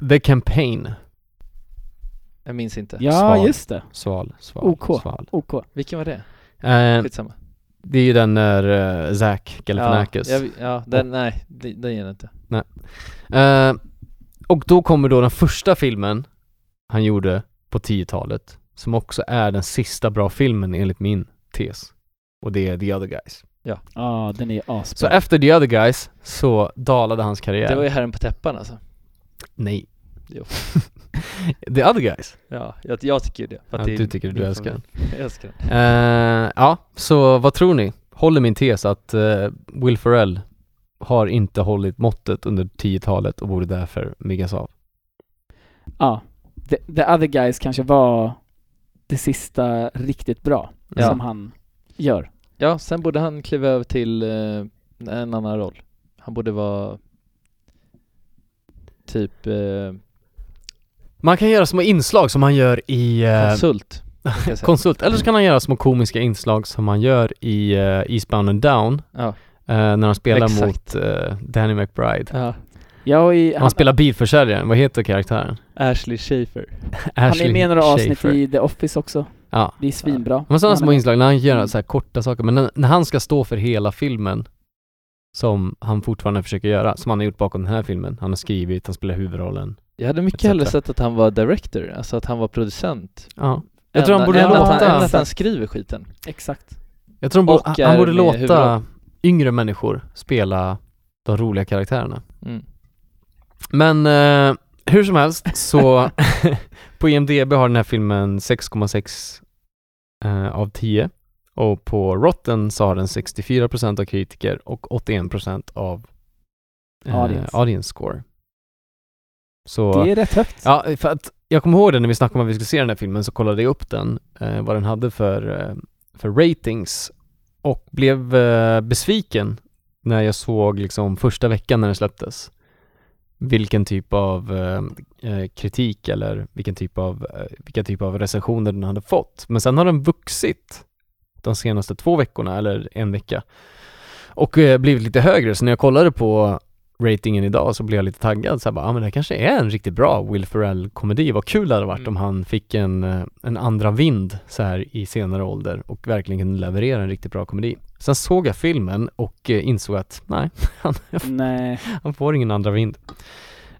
[SPEAKER 1] The Campaign.
[SPEAKER 5] Jag minns inte.
[SPEAKER 6] Ja
[SPEAKER 1] Sval.
[SPEAKER 6] just det.
[SPEAKER 1] Sval, sval,
[SPEAKER 6] OK.
[SPEAKER 1] sval.
[SPEAKER 6] OK.
[SPEAKER 5] Vilken var det?
[SPEAKER 1] Eh,
[SPEAKER 5] Skitsamma.
[SPEAKER 1] det är ju den när eh, Zack
[SPEAKER 5] Ja,
[SPEAKER 1] Galifianakis.
[SPEAKER 5] jag, ja den, nej, det- den ger den inte.
[SPEAKER 1] Eh, och då kommer då den första filmen han gjorde på 10-talet, som också är den sista bra filmen enligt min tes. Och det är The Other Guys.
[SPEAKER 6] Ja den är
[SPEAKER 1] Så
[SPEAKER 6] asbra.
[SPEAKER 1] efter The Other Guys så dalade hans karriär.
[SPEAKER 5] Typ. Det var ju Herren på täppan alltså.
[SPEAKER 1] Nej.
[SPEAKER 5] Jo.
[SPEAKER 1] <laughs> The Other Guys.
[SPEAKER 5] Ja, jag, jag tycker det. För
[SPEAKER 1] Ja,
[SPEAKER 5] att det är
[SPEAKER 1] du tycker du
[SPEAKER 5] min
[SPEAKER 1] älskar den.
[SPEAKER 5] favorit. Jag älskar den.
[SPEAKER 1] Eh, ja, så vad tror ni? Håller min tes att eh, Will Ferrell har inte hållit måttet under 10-talet och borde därför myggas av?
[SPEAKER 6] Ja. The, the other guys kanske var det sista riktigt bra
[SPEAKER 1] Ja.
[SPEAKER 6] som han gör.
[SPEAKER 5] Ja, sen borde han kliva över till eh, en annan roll. Han borde vara typ eh,
[SPEAKER 1] Man kan göra små inslag som han gör i eh,
[SPEAKER 5] konsult. kan
[SPEAKER 1] <laughs>
[SPEAKER 5] jag säga.
[SPEAKER 1] konsult, eller så kan han göra små komiska inslag som han gör i eh, Eastbound and Down
[SPEAKER 5] Ja.
[SPEAKER 1] eh, när han spelar
[SPEAKER 5] Exakt.
[SPEAKER 1] mot eh, Danny McBride.
[SPEAKER 5] ja.
[SPEAKER 6] Jag och i,
[SPEAKER 1] Han,
[SPEAKER 6] han,
[SPEAKER 1] spelar bilförsäljaren, vad heter karaktären?
[SPEAKER 5] Ashley Schaefer.
[SPEAKER 6] han är med i några avsnitt
[SPEAKER 1] Schaefer.
[SPEAKER 6] i The Office också.
[SPEAKER 1] Ja.
[SPEAKER 6] Det är svinbra.
[SPEAKER 1] Men sådana
[SPEAKER 6] Han är
[SPEAKER 1] små
[SPEAKER 6] med.
[SPEAKER 1] inslag när han gör så här korta saker, men när, när han ska stå för hela filmen som han fortfarande försöker göra, som han har gjort bakom den här filmen. Han har skrivit, han spelar huvudrollen.
[SPEAKER 5] Jag hade mycket
[SPEAKER 1] Etc.
[SPEAKER 5] hellre sett att han var director, alltså att han var producent.
[SPEAKER 1] Ja. Jag tror
[SPEAKER 5] än-
[SPEAKER 1] han borde
[SPEAKER 5] än att han, än
[SPEAKER 1] låta,
[SPEAKER 5] att han skriver skiten.
[SPEAKER 6] Exakt.
[SPEAKER 1] jag tror han borde,
[SPEAKER 5] och
[SPEAKER 1] han-
[SPEAKER 5] är
[SPEAKER 1] han borde
[SPEAKER 5] med i
[SPEAKER 1] låta
[SPEAKER 5] huvudrollen.
[SPEAKER 1] yngre människor spela de roliga karaktärerna.
[SPEAKER 5] Mm.
[SPEAKER 1] Men eh, hur som helst så
[SPEAKER 6] <laughs>
[SPEAKER 1] på IMDB har den här filmen 6,6 eh, av 10 och på Rotten så har den 64% av kritiker och 81% av eh,
[SPEAKER 6] Audience.
[SPEAKER 1] audience. score. Så
[SPEAKER 6] Det är rätt högt.
[SPEAKER 1] ja, för att jag kommer ihåg det när vi snackade om att vi skulle se den här filmen så kollade jag upp den, eh, vad den hade för, eh, för ratings och blev eh, besviken när jag såg liksom första veckan när den släpptes vilken typ av eh, eh, kritik eller vilken typ av, eh, vilka typ av recensioner den hade fått. Men sen har den vuxit de senaste två veckorna eller en vecka och eh, blivit lite högre. Så när jag kollade på ratingen idag så blev jag lite taggad så här bara, ah, men det här kanske är en riktigt bra Will Ferrell-komedi. Vad kul det hade varit
[SPEAKER 5] Mm.
[SPEAKER 1] om han fick en, eh, en andra vind så här i senare ålder och verkligen kunde leverera en riktigt bra komedi. Sen såg jag filmen och eh, insåg att nej, <laughs> han,
[SPEAKER 6] Nej.
[SPEAKER 1] han får ingen andra vind.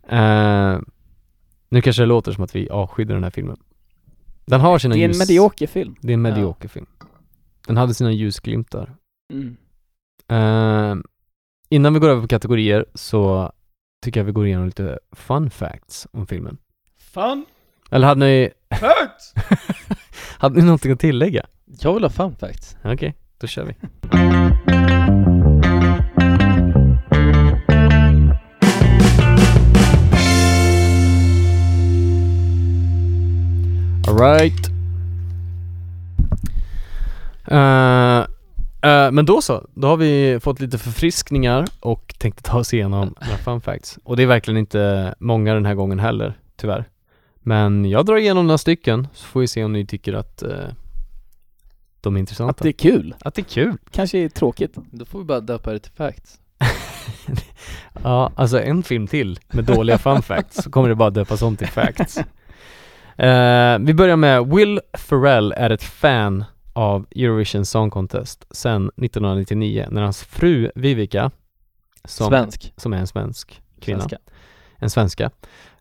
[SPEAKER 1] Eh, nu kanske det låter som att vi avskydde den här filmen. Den har sina
[SPEAKER 6] Det är en
[SPEAKER 1] ljus-
[SPEAKER 6] medioker film.
[SPEAKER 1] det är en medioker film. Den hade sina ljusglimtar.
[SPEAKER 6] Mm.
[SPEAKER 1] Eh, innan vi går över på kategorier så tycker jag vi går igenom lite fun facts om filmen.
[SPEAKER 5] Fan!
[SPEAKER 1] Eller hade ni... <laughs> hade ni någonting att tillägga?
[SPEAKER 5] Jag vill ha fun facts.
[SPEAKER 1] Okej, då kör vi. Alright. Uh, men då så, då har vi fått lite förfriskningar och tänkte ta oss igenom några fun facts. Och det är verkligen inte många den här gången heller, tyvärr. Men jag drar igenom några stycken, så får vi se om ni tycker att eh, de är intressanta.
[SPEAKER 6] Att det är kul.
[SPEAKER 1] att det är kul.
[SPEAKER 6] Kanske är tråkigt.
[SPEAKER 5] Då får vi bara döpa det till facts.
[SPEAKER 1] Ja, alltså en film till med dåliga fun facts så kommer det bara döpas om till facts. Eh, vi börjar med Will Ferrell är ett fan av Eurovision Song Contest sedan 1999 när hans fru Vivica, som,
[SPEAKER 5] Svensk.
[SPEAKER 1] som är en svensk kvinna,
[SPEAKER 5] Svenska.
[SPEAKER 1] en svenska.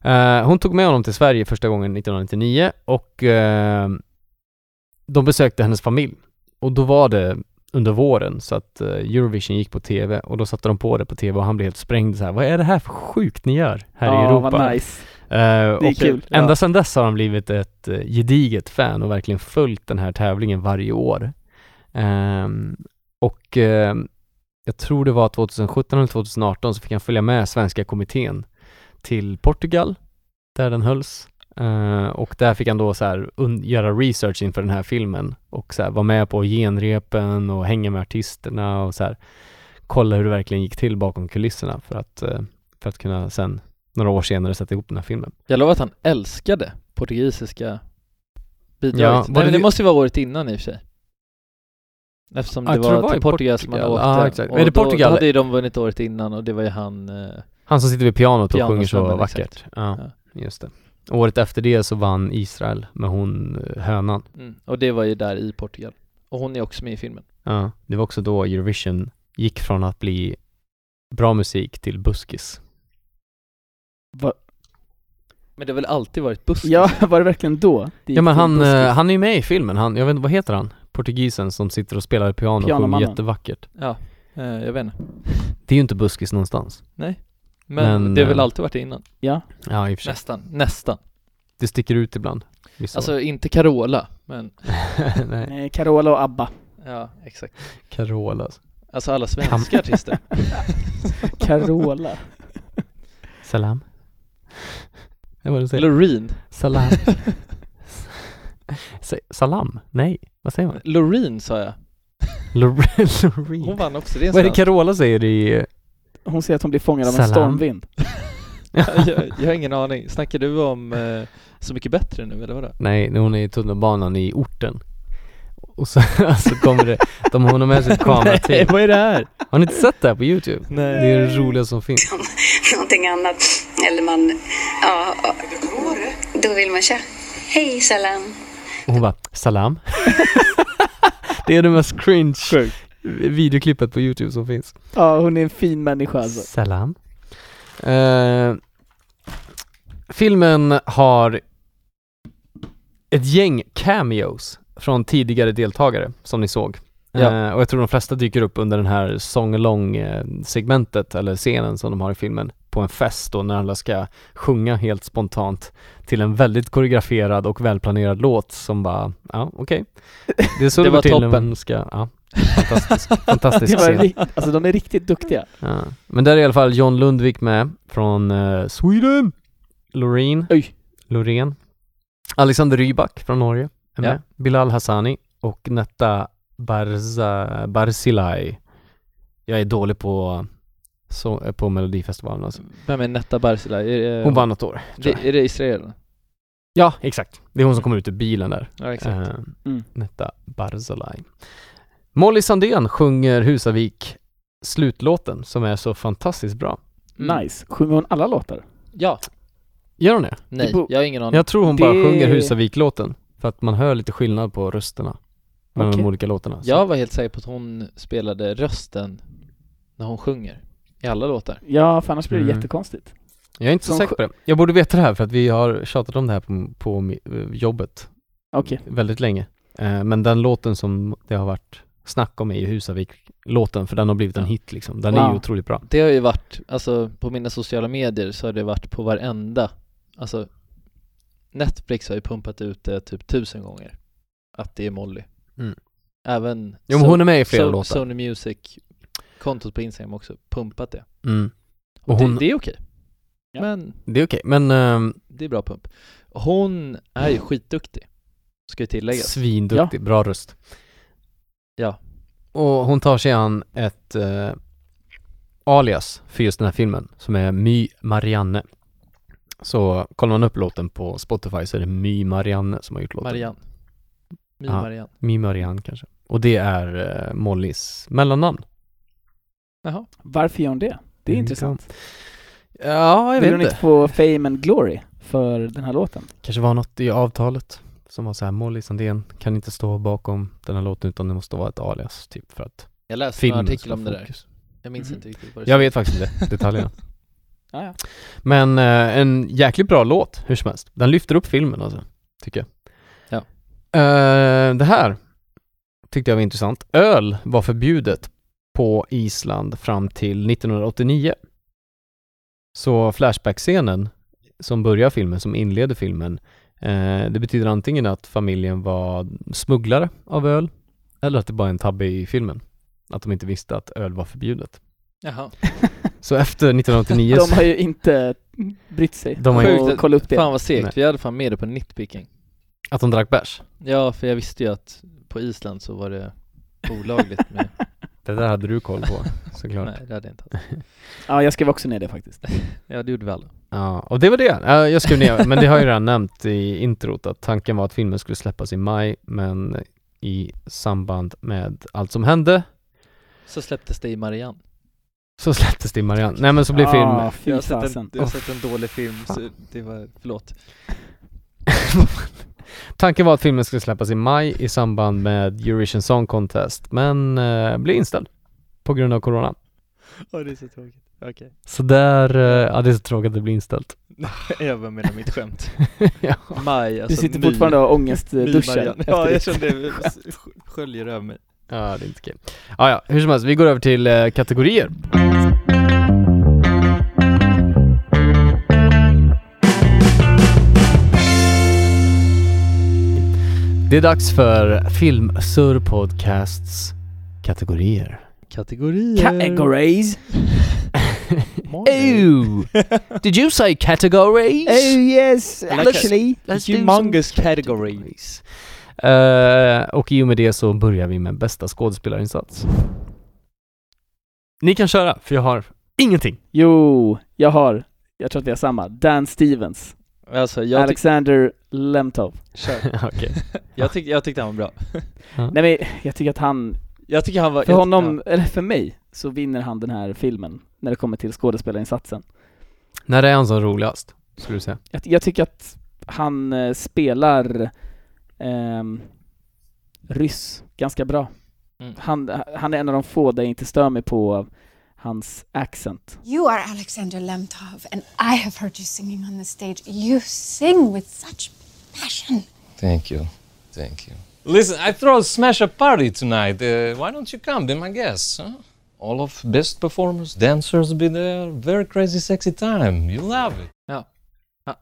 [SPEAKER 1] Eh, hon tog med honom till Sverige första gången 1999 och eh, de besökte hennes familj. Och då var det under våren så att eh, Eurovision gick på TV och då satte de på det på TV och han blev helt sprängd så här. Vad är det här för sjukt ni gör här i
[SPEAKER 6] ja,
[SPEAKER 1] Europa?
[SPEAKER 6] vad nice.
[SPEAKER 1] Eh,
[SPEAKER 6] Det är
[SPEAKER 1] och
[SPEAKER 6] kul.
[SPEAKER 1] Ända
[SPEAKER 6] Ja.
[SPEAKER 1] sedan dess har han blivit ett eh, gediget fan och verkligen följt den här tävlingen varje år. Ehm, och ehm, jag tror det var 2017 eller 2018 så fick han följa med Svenska kommittén till Portugal, där den hölls. Eh, och där fick han då så här un- göra research inför den här filmen och så här vara med på genrepen och hänga med artisterna och så här kolla hur det verkligen gick till bakom kulisserna för att, eh, för att kunna sen några år senare sätta ihop den här filmen.
[SPEAKER 5] Jag lovar att han älskade portugisiska bidraget.
[SPEAKER 1] Ja, var
[SPEAKER 5] Nej,
[SPEAKER 1] det
[SPEAKER 5] men det
[SPEAKER 1] vi-
[SPEAKER 5] måste ju vara året innan i och för sig. Eftersom det
[SPEAKER 1] Ja, jag tror
[SPEAKER 5] var,
[SPEAKER 1] det var i
[SPEAKER 5] till Portugal, som han
[SPEAKER 1] Portugal.
[SPEAKER 5] åkte.
[SPEAKER 1] Ja, exakt.
[SPEAKER 5] Och
[SPEAKER 1] Är det
[SPEAKER 5] då,
[SPEAKER 1] Portugal?
[SPEAKER 5] Då hade ju de vunnit året innan och det var ju han... eh,
[SPEAKER 1] Han som sitter vid pianot och sjunger så
[SPEAKER 5] Pianosnubben,
[SPEAKER 1] vackert.
[SPEAKER 5] exakt.
[SPEAKER 1] Ja, just det. Året efter det så vann Israel med hon eh, hönan.
[SPEAKER 5] Mm. Och det var ju där i Portugal. Och hon är också med i filmen.
[SPEAKER 1] Ja, det var också då Eurovision gick från att bli bra musik till buskis.
[SPEAKER 6] Va,
[SPEAKER 5] Men det har väl alltid varit buskis?
[SPEAKER 6] ja, <laughs> var det verkligen då? Det
[SPEAKER 1] Ja men
[SPEAKER 6] gick till
[SPEAKER 1] han,
[SPEAKER 6] buskis.
[SPEAKER 1] eh, han är ju med i filmen, han, jag vet inte, vad heter han? Portugisen som sitter och spelar piano och sjunger
[SPEAKER 6] Pianomannen.
[SPEAKER 1] jättevackert.
[SPEAKER 5] ja eh, jag vet inte.
[SPEAKER 1] Det är ju inte buskis någonstans.
[SPEAKER 5] Men,
[SPEAKER 1] Men,
[SPEAKER 5] det har väl
[SPEAKER 1] eh,
[SPEAKER 5] alltid varit det innan?
[SPEAKER 6] Ja.
[SPEAKER 1] Ja i och för sig.
[SPEAKER 5] Nästan. Nästan.
[SPEAKER 1] Det sticker ut ibland. Vissa år.
[SPEAKER 5] Alltså inte Carola, men...
[SPEAKER 1] <laughs> Nej,
[SPEAKER 6] Nej, Carola och
[SPEAKER 1] <laughs>
[SPEAKER 6] ABBA.
[SPEAKER 5] Ja, exakt.
[SPEAKER 1] Carola alltså.
[SPEAKER 5] Alltså alla svenska artister.
[SPEAKER 6] <laughs> Carola.
[SPEAKER 1] Salam. Det var <laughs> det du säger.
[SPEAKER 5] Loreen.
[SPEAKER 1] <laughs> Salam. Sa- Salam? Nej, vad säger man?
[SPEAKER 5] Loreen sa jag.
[SPEAKER 1] Lor-
[SPEAKER 5] Hon
[SPEAKER 1] <laughs> Loreen.
[SPEAKER 5] vann också, det är en
[SPEAKER 1] Vad är det
[SPEAKER 5] svensk.
[SPEAKER 1] Carola säger i...
[SPEAKER 6] Hon säger att hon blir fångad av en
[SPEAKER 1] Salam.
[SPEAKER 6] stormvind.
[SPEAKER 5] <laughs> jag, jag har ingen aning. Snackar du om eh, Så mycket bättre nu eller
[SPEAKER 1] <laughs>
[SPEAKER 5] vadå?
[SPEAKER 1] <laughs> Nej, när hon är i tunnelbanan i orten. Och så, <laughs> så kommer det, de, hon har med sig ett
[SPEAKER 5] <laughs>
[SPEAKER 1] kamerateam.
[SPEAKER 5] vad Eh. är det här?
[SPEAKER 1] Har ni inte sett det här på YouTube?
[SPEAKER 5] Nej.
[SPEAKER 1] Det är det roligaste som finns.
[SPEAKER 7] <laughs> någonting annat. Eller man... Ja, då vill man säga hej salam.
[SPEAKER 1] Och hon bara, salam. <laughs> det är det mest cringe
[SPEAKER 5] <laughs>
[SPEAKER 1] videoklippet på YouTube som finns.
[SPEAKER 6] Ja, hon är en fin människa alltså.
[SPEAKER 1] Salam. Eh, filmen har ett gäng cameos från tidigare deltagare som ni såg.
[SPEAKER 5] Ja.
[SPEAKER 1] Eh, och jag tror de flesta dyker upp under den här song-along eh, segmentet eller scenen som de har i filmen på en fest då när alla ska sjunga helt spontant till en väldigt koreograferad och välplanerad låt som bara, ja okej. Det är så
[SPEAKER 5] Det
[SPEAKER 1] det,
[SPEAKER 5] var
[SPEAKER 1] går till när
[SPEAKER 5] toppen.
[SPEAKER 1] man ska, ja. Fantastisk, fantastisk
[SPEAKER 6] <laughs> Det var
[SPEAKER 1] scen.
[SPEAKER 6] ri- alltså de är riktigt duktiga.
[SPEAKER 1] Ja. Men där är i alla fall John Lundvik med från eh, Sweden. Loreen.
[SPEAKER 6] Oj.
[SPEAKER 1] Loreen. Alexander Rybak från Norge är
[SPEAKER 5] Ja.
[SPEAKER 1] med. Bilal Hassani och Netta Barza, Barzilai. Jag är dålig på, så, på Melodifestivalen alltså.
[SPEAKER 5] Vem är Netta Barsila? Är, det-
[SPEAKER 1] Hon vann något år. tror
[SPEAKER 5] det, är det Israel?
[SPEAKER 1] Ja, exakt. Det är hon som kommer ut ur bilen där.
[SPEAKER 5] Ja, exakt. Mm.
[SPEAKER 1] Eh,
[SPEAKER 6] Mm.
[SPEAKER 1] Netta Barzilai. Molly Sandén sjunger Husavik slutlåten som är så fantastiskt bra.
[SPEAKER 5] Mm.
[SPEAKER 6] Nice. Sjunger hon alla låtar?
[SPEAKER 5] Ja,
[SPEAKER 1] Gör hon det?
[SPEAKER 5] nej,
[SPEAKER 6] Det bo-
[SPEAKER 5] jag har ingen aning.
[SPEAKER 1] Jag tror hon bara
[SPEAKER 6] Det-
[SPEAKER 1] sjunger Husavik-låten för att man hör lite skillnad på rösterna mellan
[SPEAKER 6] Okej.
[SPEAKER 1] de olika låtarna. Så-
[SPEAKER 5] Jag var helt säker på att hon spelade rösten när hon sjunger i alla låtar.
[SPEAKER 6] Ja, för annars blir det
[SPEAKER 1] Mm.
[SPEAKER 6] jättekonstigt.
[SPEAKER 1] Jag är inte så
[SPEAKER 6] Som
[SPEAKER 1] säker på det. Jag borde veta det här för att vi har tjatat om det här på, på mi- eh, jobbet
[SPEAKER 6] Okej.
[SPEAKER 1] väldigt länge. Eh, Men den låten som det har varit snack om är ju Husavik-låten för den har blivit en
[SPEAKER 5] Ja.
[SPEAKER 1] hit liksom. Den är
[SPEAKER 6] Ja.
[SPEAKER 1] ju otroligt bra.
[SPEAKER 5] Det har ju varit, alltså på mina sociala medier så har det varit på varenda, alltså Netflix har ju pumpat ut det typ tusen gånger att det är Molly.
[SPEAKER 1] Mm.
[SPEAKER 5] Även
[SPEAKER 1] Jo men
[SPEAKER 5] So-
[SPEAKER 1] hon är med i flera
[SPEAKER 5] So-
[SPEAKER 1] låtar.
[SPEAKER 5] Sony Music kontot på Instagram också pumpat det.
[SPEAKER 1] Mm.
[SPEAKER 5] Och
[SPEAKER 1] Och hon,
[SPEAKER 5] det,
[SPEAKER 1] det,
[SPEAKER 5] det är okej.
[SPEAKER 6] Ja.
[SPEAKER 5] Men
[SPEAKER 1] är okej, men ehm,
[SPEAKER 5] det är bra pump. Hon är ju skitduktig, ska ju tilläggas.
[SPEAKER 1] svinduktig, bra röst.
[SPEAKER 5] Ja.
[SPEAKER 1] Och hon tar sig an ett eh, alias för just den här filmen som är My Marianne. Så kollar man upp låten på Spotify så är det My Marianne som har gjort låten.
[SPEAKER 5] Marianne. My
[SPEAKER 1] Ja.
[SPEAKER 5] Marianne.
[SPEAKER 1] My Marianne kanske. Och det är eh, Mollys mellannamn.
[SPEAKER 5] Jaha.
[SPEAKER 6] Varför gör hon det? Det är
[SPEAKER 1] Mm,
[SPEAKER 6] intressant.
[SPEAKER 1] Ja, jag
[SPEAKER 6] Vill
[SPEAKER 1] vet
[SPEAKER 6] hon
[SPEAKER 1] inte.
[SPEAKER 6] inte få fame and glory för den här låten?
[SPEAKER 1] Kanske var något i avtalet som var så här Molly Sandén kan inte stå bakom den här låten utan det måste vara ett alias typ för att
[SPEAKER 5] Jag läste en
[SPEAKER 1] filmen
[SPEAKER 5] artikel
[SPEAKER 1] ska
[SPEAKER 5] om det där. Mm.
[SPEAKER 1] fokus.
[SPEAKER 5] Jag minns
[SPEAKER 6] Mhm.
[SPEAKER 5] inte riktigt vad det
[SPEAKER 1] Jag
[SPEAKER 5] stod.
[SPEAKER 1] vet faktiskt inte detaljerna.
[SPEAKER 6] <laughs> Ja, ja.
[SPEAKER 1] Men eh, en jäkligt bra låt, hur som helst. Den lyfter upp filmen alltså, tycker jag.
[SPEAKER 5] Ja.
[SPEAKER 1] Eh, det här tyckte jag var intressant. Öl var förbjudet på Island fram till 1989. Så Flashback-scenen som börjar filmen, som inleder filmen, eh, det betyder antingen att familjen var smugglare av öl eller att det bara är en tabbe i filmen. Att de inte visste att öl var förbjudet.
[SPEAKER 5] Jaha.
[SPEAKER 1] Så efter 1989 så...
[SPEAKER 6] <laughs> De har ju inte brytt sig
[SPEAKER 1] De har
[SPEAKER 5] inte-
[SPEAKER 6] och kolla upp det.
[SPEAKER 5] Fan vad segt,
[SPEAKER 1] Nej.
[SPEAKER 5] vi hade fan med det på nitpicking
[SPEAKER 1] Att de drack bärs?
[SPEAKER 5] Ja, för jag visste ju att på Island så var det
[SPEAKER 1] <laughs>
[SPEAKER 5] olagligt med
[SPEAKER 6] <laughs>
[SPEAKER 1] Det där hade du koll på såklart.
[SPEAKER 5] Nej, det hade jag inte haft.
[SPEAKER 6] Ja, jag skrev också ner det faktiskt.
[SPEAKER 5] Alltså, Ja, det gjorde vi alla
[SPEAKER 1] Ja, och det var det. Ja, Jag skrev ner, men det har jag redan nämnt i introt att tanken var att filmen skulle släppas i maj, men i samband med allt som hände
[SPEAKER 5] Så släpptes det i Marianne
[SPEAKER 1] så släpptes det i Marianne. Nej men så blev
[SPEAKER 6] Ah,
[SPEAKER 1] film...
[SPEAKER 6] fy fasen.
[SPEAKER 5] jag har sett en dålig film, så det var, förlåt
[SPEAKER 1] <laughs> Tanken var att filmen skulle släppas i maj i samband med Eurovision Song Contest, men eh, blev inställd på grund av corona.
[SPEAKER 5] Ja, det är så tråkigt, okej
[SPEAKER 1] Så där, eh, ja det är så tråkigt att det blir inställt.
[SPEAKER 5] Jag bara menar mitt skämt
[SPEAKER 1] <laughs> ja.
[SPEAKER 5] <laughs> Maj,
[SPEAKER 6] Du
[SPEAKER 5] alltså
[SPEAKER 6] sitter
[SPEAKER 5] my-
[SPEAKER 6] fortfarande och har
[SPEAKER 5] my
[SPEAKER 6] ångestduschen
[SPEAKER 5] Marianne. Ja, jag
[SPEAKER 6] efter
[SPEAKER 5] kände
[SPEAKER 6] <laughs> det.
[SPEAKER 5] det sköljer över mig
[SPEAKER 1] Ja, det är inte kul. Ja, ja, hur som helst, vi går över till eh, kategorier. Det är dags för Filmsur Podcasts kategorier. <laughs>
[SPEAKER 5] Kategorier
[SPEAKER 6] Categories.
[SPEAKER 5] Ew.
[SPEAKER 1] Did you say categories?
[SPEAKER 6] Oh, yes,
[SPEAKER 5] actually. Humongous categories
[SPEAKER 1] Eh, och i och med det så börjar vi med bästa skådespelarinsats. Ni kan köra, för jag har ingenting.
[SPEAKER 6] Jo, jag har, jag tror att vi har samma. Dan Stevens,
[SPEAKER 5] Alltså, jag, tyck-
[SPEAKER 6] Alexander Lemtov.
[SPEAKER 1] <laughs> Okej.
[SPEAKER 5] jag, tyck- jag tyckte han var bra
[SPEAKER 6] Nej men jag tycker att han,
[SPEAKER 5] Jag tycker han var
[SPEAKER 6] för
[SPEAKER 5] jag-
[SPEAKER 6] honom, eller för mig, så vinner han den här filmen när det kommer till skådespelarinsatsen.
[SPEAKER 1] När är han som roligast, skulle du säga?
[SPEAKER 6] Jag, jag tycker att han eh, spelar ehm, ryss ganska bra.
[SPEAKER 5] Mm.
[SPEAKER 6] Han, han är en av de få där jag inte stör mig på hans accent.
[SPEAKER 8] You are Alexander Lemtov, and I have heard you singing on the stage. You sing with such passion.
[SPEAKER 9] Thank you. Thank you. Listen, I throw a smash up party tonight. Uh, why don't you come? Be my guest. Huh? All of best performers, dancers be there. Very crazy, sexy time. You love it.
[SPEAKER 5] Ja,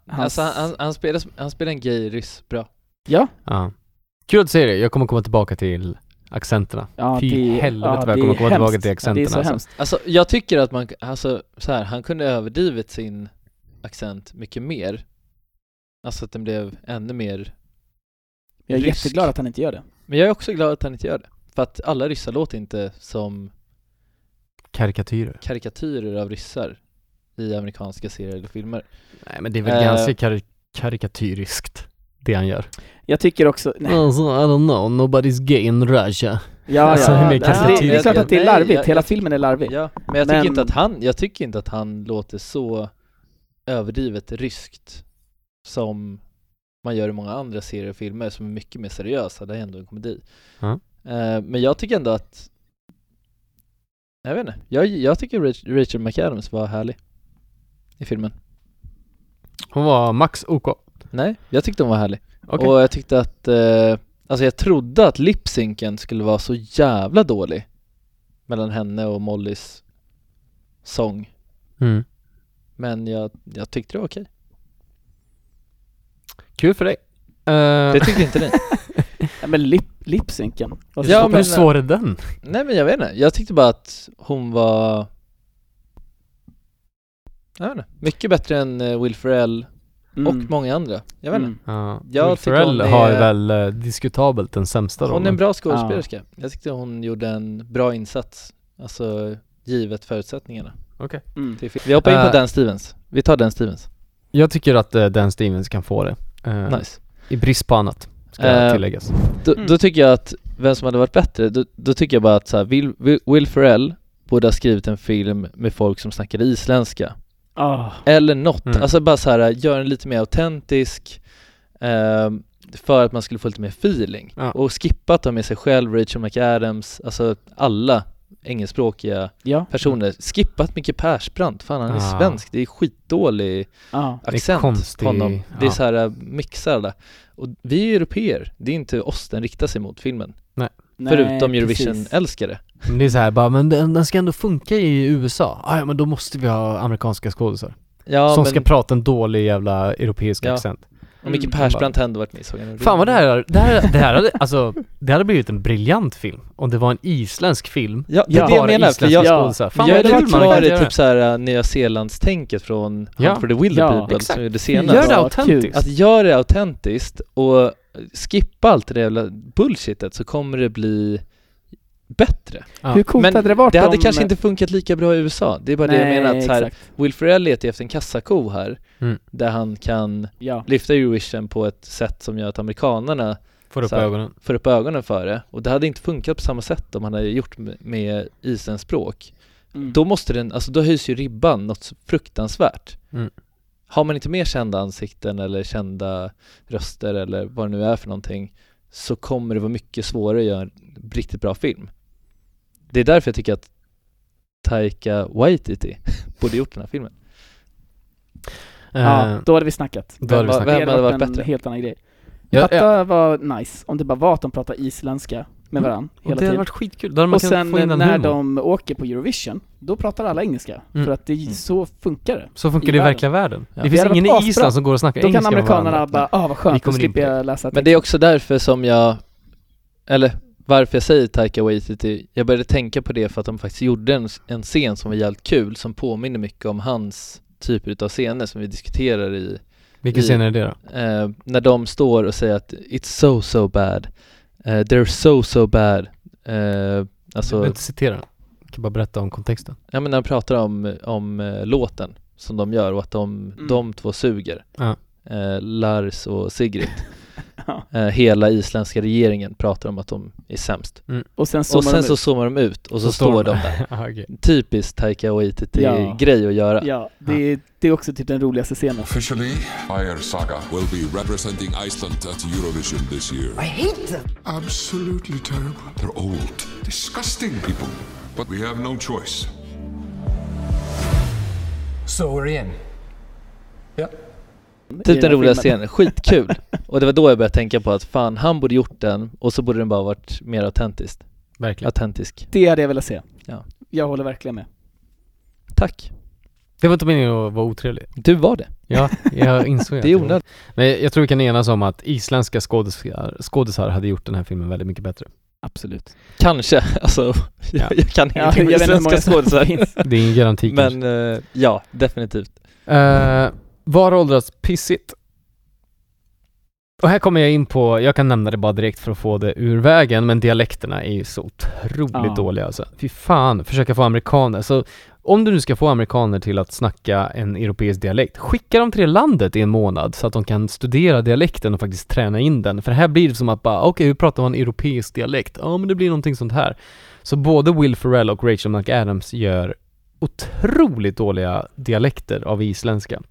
[SPEAKER 6] Hans-
[SPEAKER 5] Alltså han, han, han, spelar, han spelar en gay ryss bra.
[SPEAKER 6] Ja,
[SPEAKER 1] Ja. Kul att säga det, jag kommer komma tillbaka till accenterna.
[SPEAKER 6] ja
[SPEAKER 1] Fy
[SPEAKER 6] det,
[SPEAKER 1] helvete
[SPEAKER 6] ja,
[SPEAKER 1] vad jag
[SPEAKER 6] det är
[SPEAKER 1] kommer komma
[SPEAKER 6] hemskt.
[SPEAKER 1] tillbaka till
[SPEAKER 6] ja, Det är
[SPEAKER 1] accenterna,
[SPEAKER 6] så
[SPEAKER 1] alltså.
[SPEAKER 6] hemskt.
[SPEAKER 5] Alltså jag tycker att man, alltså så här, han kunde överdrivit sin accent mycket mer. Alltså att den blev ännu mer,
[SPEAKER 6] Jag är
[SPEAKER 5] Rysk.
[SPEAKER 6] jätteglad att han inte gör det.
[SPEAKER 5] men jag är också glad att han inte gör det. För att alla ryssar låter inte som
[SPEAKER 1] Karikatyrer.
[SPEAKER 5] karikatyrer av ryssar i amerikanska serier eller filmer.
[SPEAKER 1] Nej men det är
[SPEAKER 5] väl
[SPEAKER 1] väl
[SPEAKER 5] Eh. ganska
[SPEAKER 1] ganska karikatyriskt. det han gör.
[SPEAKER 6] Jag tycker också... Nej.
[SPEAKER 1] Alltså, I don't know, nobody's gay in Russia.
[SPEAKER 6] Ja,
[SPEAKER 1] Alltså,
[SPEAKER 6] ja,
[SPEAKER 1] hur
[SPEAKER 6] det,
[SPEAKER 1] mycket
[SPEAKER 6] alltså, det, det är
[SPEAKER 5] attityd?
[SPEAKER 6] klart att det är
[SPEAKER 5] Nej,
[SPEAKER 6] larvigt,
[SPEAKER 5] jag-
[SPEAKER 6] hela
[SPEAKER 5] jag-
[SPEAKER 6] filmen är larvig.
[SPEAKER 5] Ja, men jag tycker,
[SPEAKER 6] Men-
[SPEAKER 5] Inte att han, jag tycker inte att han låter så överdrivet ryskt som man gör i många andra serier och filmer som är mycket mer seriösa, det är ändå en komedi.
[SPEAKER 1] Ja.
[SPEAKER 5] Eh, men jag tycker ändå att jag vet inte, jag, jag tycker Rach- Rachel McAdams var härlig i filmen.
[SPEAKER 1] Hon var max OK.
[SPEAKER 5] Nej, jag tyckte hon var härlig.
[SPEAKER 1] Okej.
[SPEAKER 5] Och jag tyckte att, eh, alltså jag trodde att lipsynken skulle vara så jävla dålig mellan henne och Mollys sång.
[SPEAKER 1] Mm.
[SPEAKER 5] Men jag, jag tyckte det var okej.
[SPEAKER 1] Kul för dig. Eh, <laughs>
[SPEAKER 5] Det tyckte inte ni? <laughs>
[SPEAKER 6] Ja, men lip, lipsynken. Alltså, Och så-
[SPEAKER 5] Ja,
[SPEAKER 1] hur
[SPEAKER 5] men-
[SPEAKER 1] svår är den?
[SPEAKER 5] Nej men jag vet inte, jag tyckte bara att hon var jag vet inte, mycket bättre än eh, Will Ferrell och
[SPEAKER 6] Mm.
[SPEAKER 5] många andra. Jag vet inte.
[SPEAKER 6] Mm.
[SPEAKER 1] Ja,
[SPEAKER 5] Jag
[SPEAKER 1] Will
[SPEAKER 5] tycker
[SPEAKER 1] Ferrell
[SPEAKER 5] hon är-
[SPEAKER 1] har väl eh, diskutabelt den sämsta
[SPEAKER 5] Hon är en
[SPEAKER 1] rollen.
[SPEAKER 5] bra skådespelerska. Jag tyckte hon gjorde en bra insats, alltså givet förutsättningarna.
[SPEAKER 6] Mm.
[SPEAKER 5] till film. Vi hoppar in på
[SPEAKER 1] Eh.
[SPEAKER 5] Dan Stevens. Vi tar Dan Stevens.
[SPEAKER 1] Jag tycker att eh, Dan Stevens kan få det. Eh,
[SPEAKER 5] Nice.
[SPEAKER 1] I brist på annat, ska
[SPEAKER 5] Eh,
[SPEAKER 1] tilläggas.
[SPEAKER 5] Då,
[SPEAKER 6] Mm.
[SPEAKER 5] då tycker jag att vem som hade varit bättre, då, då tycker jag bara att så här, Will, Will- Will Ferrell borde ha skrivit en film med folk som snackade isländska.
[SPEAKER 6] Ah,
[SPEAKER 5] Eller något,
[SPEAKER 1] Mm.
[SPEAKER 5] alltså bara så här, gör den lite mer autentisk ehm, för att man skulle få lite mer feeling.
[SPEAKER 1] Ja.
[SPEAKER 5] Och skippa att ta med sig själv, Rachel McAdams, alltså alla engelskspråkiga
[SPEAKER 6] ja.
[SPEAKER 5] personer. Skippat Micke Persbrandt, fan han är
[SPEAKER 1] Ah.
[SPEAKER 5] svensk, det är skitdålig
[SPEAKER 6] Ah.
[SPEAKER 1] är
[SPEAKER 5] accent
[SPEAKER 1] konstig-
[SPEAKER 5] på honom. Det är
[SPEAKER 1] ja.
[SPEAKER 5] så här äh, mixar där. Och vi är ju europeer, det är inte oss den riktar sig mot filmen.
[SPEAKER 6] Nej,
[SPEAKER 5] Förutom
[SPEAKER 6] precis.
[SPEAKER 5] Eurovision-älskare.
[SPEAKER 1] Men det är så här bara, men den, den ska ändå funka i USA. Ah, ja, men då måste vi ha amerikanska skådisar.
[SPEAKER 5] Ja,
[SPEAKER 1] som
[SPEAKER 5] men
[SPEAKER 1] ska prata en dålig jävla europeisk
[SPEAKER 5] Ja.
[SPEAKER 1] accent.
[SPEAKER 5] och Micke
[SPEAKER 6] Mm.
[SPEAKER 5] Persbrandt har ändå varit med i Sagan om
[SPEAKER 1] Fan vad det
[SPEAKER 5] ringen.
[SPEAKER 1] här, det här, det här hade, alltså, det hade blivit en briljant film. Om det var en isländsk film.
[SPEAKER 5] Ja, det är
[SPEAKER 6] Ja.
[SPEAKER 5] det jag
[SPEAKER 1] bara
[SPEAKER 5] menar, för
[SPEAKER 1] isländska
[SPEAKER 5] jag,
[SPEAKER 6] Ja.
[SPEAKER 1] skådisar. Fan
[SPEAKER 5] jag
[SPEAKER 1] vad
[SPEAKER 5] är
[SPEAKER 1] kul man
[SPEAKER 5] lite kvar
[SPEAKER 1] kan
[SPEAKER 5] i
[SPEAKER 1] göra.
[SPEAKER 5] typ såhär Nya Zeelands-tänket från Hunt
[SPEAKER 1] Ja.
[SPEAKER 5] for the Wilder
[SPEAKER 6] Ja,
[SPEAKER 5] People
[SPEAKER 1] exakt.
[SPEAKER 5] som gjorde senast.
[SPEAKER 1] Gör det
[SPEAKER 6] typ Ja,
[SPEAKER 1] autentiskt.
[SPEAKER 5] Att göra det autentiskt och skippa allt det där jävla bullshitet så kommer det bli bättre.
[SPEAKER 1] Ja.
[SPEAKER 6] Hur coolt
[SPEAKER 5] Men
[SPEAKER 6] hade det varit
[SPEAKER 5] Det hade
[SPEAKER 6] om...
[SPEAKER 5] kanske inte funkat lika bra i USA. Det är bara det jag menar att så här,
[SPEAKER 6] exakt.
[SPEAKER 5] Will Ferrell letar efter en kassako här
[SPEAKER 1] Mm.
[SPEAKER 5] där han kan
[SPEAKER 6] Ja.
[SPEAKER 5] lyfta Eurovision på ett sätt som gör att amerikanerna
[SPEAKER 1] Får upp
[SPEAKER 5] så här.
[SPEAKER 1] ögonen.
[SPEAKER 5] får upp ögonen för det och det hade inte funkat på samma sätt om han hade gjort med, med isens språk
[SPEAKER 6] Mm.
[SPEAKER 5] då måste den, alltså då höjs ju ribban något så fruktansvärt.
[SPEAKER 1] Mm.
[SPEAKER 5] Har man inte mer kända ansikten eller kända röster eller vad det nu är för någonting så kommer det vara mycket svårare att göra en riktigt bra film. Det är därför jag tycker att Taika Waititi <laughs> borde gjort den här filmen.
[SPEAKER 6] Ja,
[SPEAKER 1] Eh,
[SPEAKER 6] då hade vi snackat.
[SPEAKER 1] då hade vi
[SPEAKER 5] Vem-
[SPEAKER 1] snackat.
[SPEAKER 5] vem- hade varit
[SPEAKER 6] en
[SPEAKER 5] bättre?
[SPEAKER 6] helt annan grej.
[SPEAKER 1] Ja,
[SPEAKER 6] Fatta
[SPEAKER 1] ja. Mm.
[SPEAKER 6] vad nice om det bara var att de pratade isländska med varandra
[SPEAKER 1] Och
[SPEAKER 6] hela
[SPEAKER 1] det hade
[SPEAKER 6] tiden.
[SPEAKER 1] varit skitkul. Då hade man
[SPEAKER 6] Och
[SPEAKER 1] kunnat
[SPEAKER 6] sen
[SPEAKER 1] få in den
[SPEAKER 6] när
[SPEAKER 1] humorn.
[SPEAKER 6] de åker på Eurovision, då pratar alla engelska.
[SPEAKER 1] Mm.
[SPEAKER 6] För att det är så funkar det.
[SPEAKER 1] Så funkar
[SPEAKER 6] i
[SPEAKER 1] det i
[SPEAKER 6] världen.
[SPEAKER 1] verkliga världen.
[SPEAKER 5] Ja.
[SPEAKER 1] Det
[SPEAKER 6] Det
[SPEAKER 1] finns
[SPEAKER 6] hade
[SPEAKER 1] ingen i
[SPEAKER 6] varit asbra.
[SPEAKER 1] Island som går och snackar
[SPEAKER 6] Då kan
[SPEAKER 1] engelska med varandra.
[SPEAKER 6] amerikanerna bara, ah vad
[SPEAKER 1] Vi
[SPEAKER 6] skönt, då
[SPEAKER 1] kommer in
[SPEAKER 6] slipper
[SPEAKER 1] på det.
[SPEAKER 6] jag läsa
[SPEAKER 5] Men det är också därför som jag, eller varför jag säger Taika Waititi, jag började tänka på det för att de faktiskt gjorde en, en scen som var jävligt kul som påminner mycket om hans typer utav scener som vi diskuterar i
[SPEAKER 1] Vilken
[SPEAKER 5] i-
[SPEAKER 1] scen är det då?
[SPEAKER 5] eh, när de står och säger att it's so so bad, eh, they're so so bad. Eh,
[SPEAKER 1] Du behöver
[SPEAKER 5] alltså,
[SPEAKER 1] inte citera. Jag kan bara berätta om kontexten.
[SPEAKER 5] ja men när de pratar om, om eh, låten som de gör och att de,
[SPEAKER 6] Mm.
[SPEAKER 5] de två suger.
[SPEAKER 1] Ja.
[SPEAKER 5] Eh, Lars
[SPEAKER 6] <laughs>
[SPEAKER 5] och Sigrid.
[SPEAKER 6] Ja.
[SPEAKER 5] eh, hela isländska regeringen pratar om att de är sämst.
[SPEAKER 6] Och sen
[SPEAKER 5] och
[SPEAKER 6] zoomar
[SPEAKER 5] sen
[SPEAKER 6] de
[SPEAKER 5] så
[SPEAKER 6] ut.
[SPEAKER 5] zoomar de ut och så, står de
[SPEAKER 1] <laughs>
[SPEAKER 5] där.
[SPEAKER 1] ah, okay.
[SPEAKER 5] Typiskt Taika Waititi-grej
[SPEAKER 6] Ja.
[SPEAKER 5] att göra.
[SPEAKER 6] Ja, det är, det är också typ den roligaste scenen.
[SPEAKER 10] Officially, Fire Saga will be representing Iceland at Eurovision this year. I hate them! Absolutely terrible. They're old, disgusting people. But we have no choice.
[SPEAKER 4] So we're in. Yep.
[SPEAKER 5] Typ den
[SPEAKER 6] den filmen.
[SPEAKER 5] roliga
[SPEAKER 6] <laughs>
[SPEAKER 5] scenen, skitkul. Och det var då jag började tänka på att fan, han borde gjort den och så borde den bara varit mer autentisk.
[SPEAKER 1] Verkligen.
[SPEAKER 5] Autentisk.
[SPEAKER 6] Det hade jag velat se.
[SPEAKER 5] Ja.
[SPEAKER 6] Jag håller verkligen med.
[SPEAKER 5] Tack.
[SPEAKER 1] Det var inte meningen att vara otrevlig.
[SPEAKER 5] Du var det.
[SPEAKER 1] Ja,
[SPEAKER 5] <laughs>
[SPEAKER 1] jag insåg att
[SPEAKER 5] Det är onödigt.
[SPEAKER 1] Men jag tror vi kan enas om att isländska skådisar, skådisar hade gjort den här filmen väldigt mycket bättre.
[SPEAKER 6] Absolut.
[SPEAKER 5] Kanske, <laughs> alltså jag,
[SPEAKER 1] Ja.
[SPEAKER 5] jag kan
[SPEAKER 6] Ja,
[SPEAKER 5] ingenting
[SPEAKER 6] jag
[SPEAKER 5] med
[SPEAKER 6] vet inte hur många
[SPEAKER 5] svenska
[SPEAKER 6] som
[SPEAKER 5] skådisar.
[SPEAKER 6] finns.
[SPEAKER 1] Det är ingen garanti
[SPEAKER 5] <laughs> Men eh, ja, definitivt.
[SPEAKER 1] kanske. Eh, var åldras pissigt? Och här kommer jag in på, jag kan nämna det bara direkt för att få det ur vägen, men dialekterna är ju så otroligt
[SPEAKER 6] Ja.
[SPEAKER 1] dåliga alltså. Fy fan, försöka få amerikaner. Så Om du nu ska få amerikaner till att snacka en europeisk dialekt, skicka dem till det landet i en månad så att de kan studera dialekten och faktiskt träna in den. För här blir det som att bara, okej, hur pratar man europeisk dialekt? Ja, men det blir någonting sånt här. Så både Will Ferrell och Rachel McAdams gör otroligt dåliga dialekter av isländska.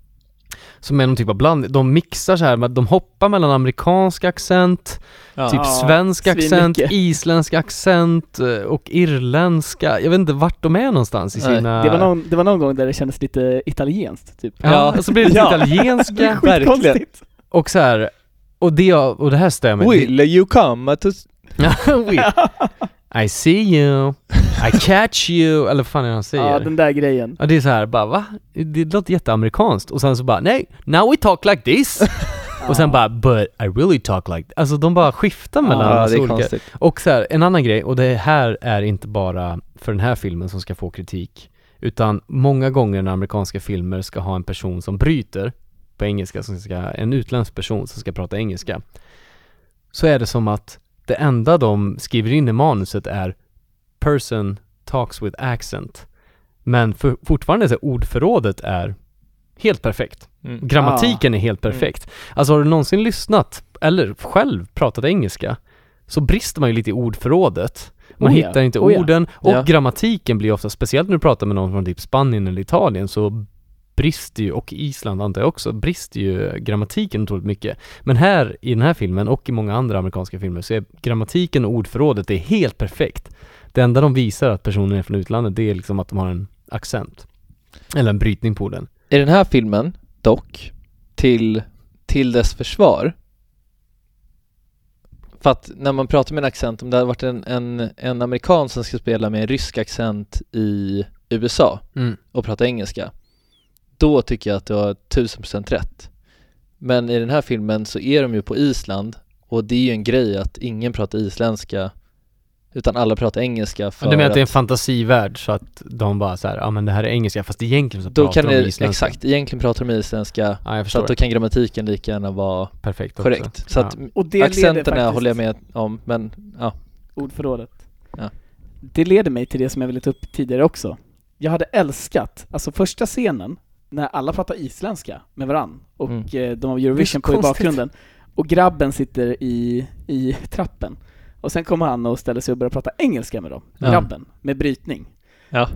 [SPEAKER 1] Som är någon typ av bland, de mixar så här, med- de hoppar mellan amerikansk accent,
[SPEAKER 5] Ja.
[SPEAKER 1] typ
[SPEAKER 5] Ja,
[SPEAKER 1] svensk accent,
[SPEAKER 6] svinmycket.
[SPEAKER 1] isländsk accent eh, och irländska. Jag vet inte vart de är någonstans i
[SPEAKER 5] Nej.
[SPEAKER 1] sina...
[SPEAKER 6] Det var, någon, det var någon gång där det kändes lite italienskt, typ.
[SPEAKER 1] Ja, och så blir det lite
[SPEAKER 6] Ja. Det är
[SPEAKER 1] italienska
[SPEAKER 5] verkligen.
[SPEAKER 6] skitkonstigt.
[SPEAKER 1] och så här, och det, och det här stämmer.
[SPEAKER 5] Will you come to...
[SPEAKER 1] <laughs>
[SPEAKER 6] <laughs>
[SPEAKER 1] Will. I see you, I catch you, eller vad fan är det han säger?
[SPEAKER 6] Ja, den där grejen.
[SPEAKER 1] Ja, det är så här bara va? Det låter jätteamerikanskt och sen så bara nej, now we talk like
[SPEAKER 5] <laughs>
[SPEAKER 1] this och sen bara but I really talk like Alltså de bara skiftar mellan
[SPEAKER 5] Ja,
[SPEAKER 1] massa
[SPEAKER 5] det är
[SPEAKER 1] olika
[SPEAKER 5] konstigt.
[SPEAKER 1] Och så här, en annan grej och det här är inte bara för den här filmen som ska få kritik utan många gånger när amerikanska filmer ska ha en person som bryter på engelska, som ska, en utländsk person som ska prata engelska så är det som att det enda de skriver in i manuset är person talks with accent men för, fortfarande så är ordförrådet är helt perfekt.
[SPEAKER 5] Mm.
[SPEAKER 1] Grammatiken är helt perfekt. Alltså har du någonsin lyssnat eller själv pratat engelska så brister man ju lite i ordförrådet. Man
[SPEAKER 6] Oh ja,
[SPEAKER 1] hittar inte
[SPEAKER 6] oh ja.
[SPEAKER 1] orden och
[SPEAKER 5] Ja.
[SPEAKER 1] grammatiken blir ofta, speciellt när du pratar med någon från typ Spanien eller Italien så brister ju, och Island antar jag också, brister ju grammatiken otroligt mycket. Men här i den här filmen och i många andra amerikanska filmer så är grammatiken och ordförrådet det är helt perfekt. Det enda de visar att personen är från utlandet det är liksom att de har en accent. Eller en brytning på den.
[SPEAKER 5] I den här filmen, dock, till, till dess försvar För att när man pratar med en accent, om det hade varit en, en, en amerikan som ska spela med en rysk accent i USA
[SPEAKER 1] Mm.
[SPEAKER 5] och prata engelska Då tycker jag att du har 1000% rätt Men i den här filmen så är de ju på Island och det är ju en grej att ingen pratar isländska utan alla pratar engelska för
[SPEAKER 1] Du menar att det är en
[SPEAKER 5] att
[SPEAKER 1] fantasivärld så att de bara så här, ja men det här är engelska fast egentligen så
[SPEAKER 5] då
[SPEAKER 1] pratar
[SPEAKER 5] kan
[SPEAKER 1] de
[SPEAKER 5] det,
[SPEAKER 1] isländska.
[SPEAKER 5] exakt, egentligen pratar de isländska
[SPEAKER 1] Ja, jag
[SPEAKER 5] så
[SPEAKER 1] förstår.
[SPEAKER 5] att då kan grammatiken lika gärna vara
[SPEAKER 1] Perfekt också.
[SPEAKER 5] korrekt. Så att
[SPEAKER 1] ja.
[SPEAKER 6] Och det leder
[SPEAKER 5] accenterna
[SPEAKER 6] faktiskt-
[SPEAKER 5] håller jag med om, men ja.
[SPEAKER 6] ordförrådet.
[SPEAKER 5] Ja.
[SPEAKER 6] Det leder mig till det som jag ville ta upp tidigare också. Jag hade älskat, alltså första scenen, när alla pratar isländska med varann och
[SPEAKER 5] Mm.
[SPEAKER 6] eh, de har Eurovision
[SPEAKER 1] Det
[SPEAKER 6] på
[SPEAKER 1] är så
[SPEAKER 6] i
[SPEAKER 1] konstigt.
[SPEAKER 6] bakgrunden och grabben sitter i, i trappen och sen kommer han och ställer sig och börjar prata engelska med dem,
[SPEAKER 5] Ja.
[SPEAKER 6] grabben, med brytning.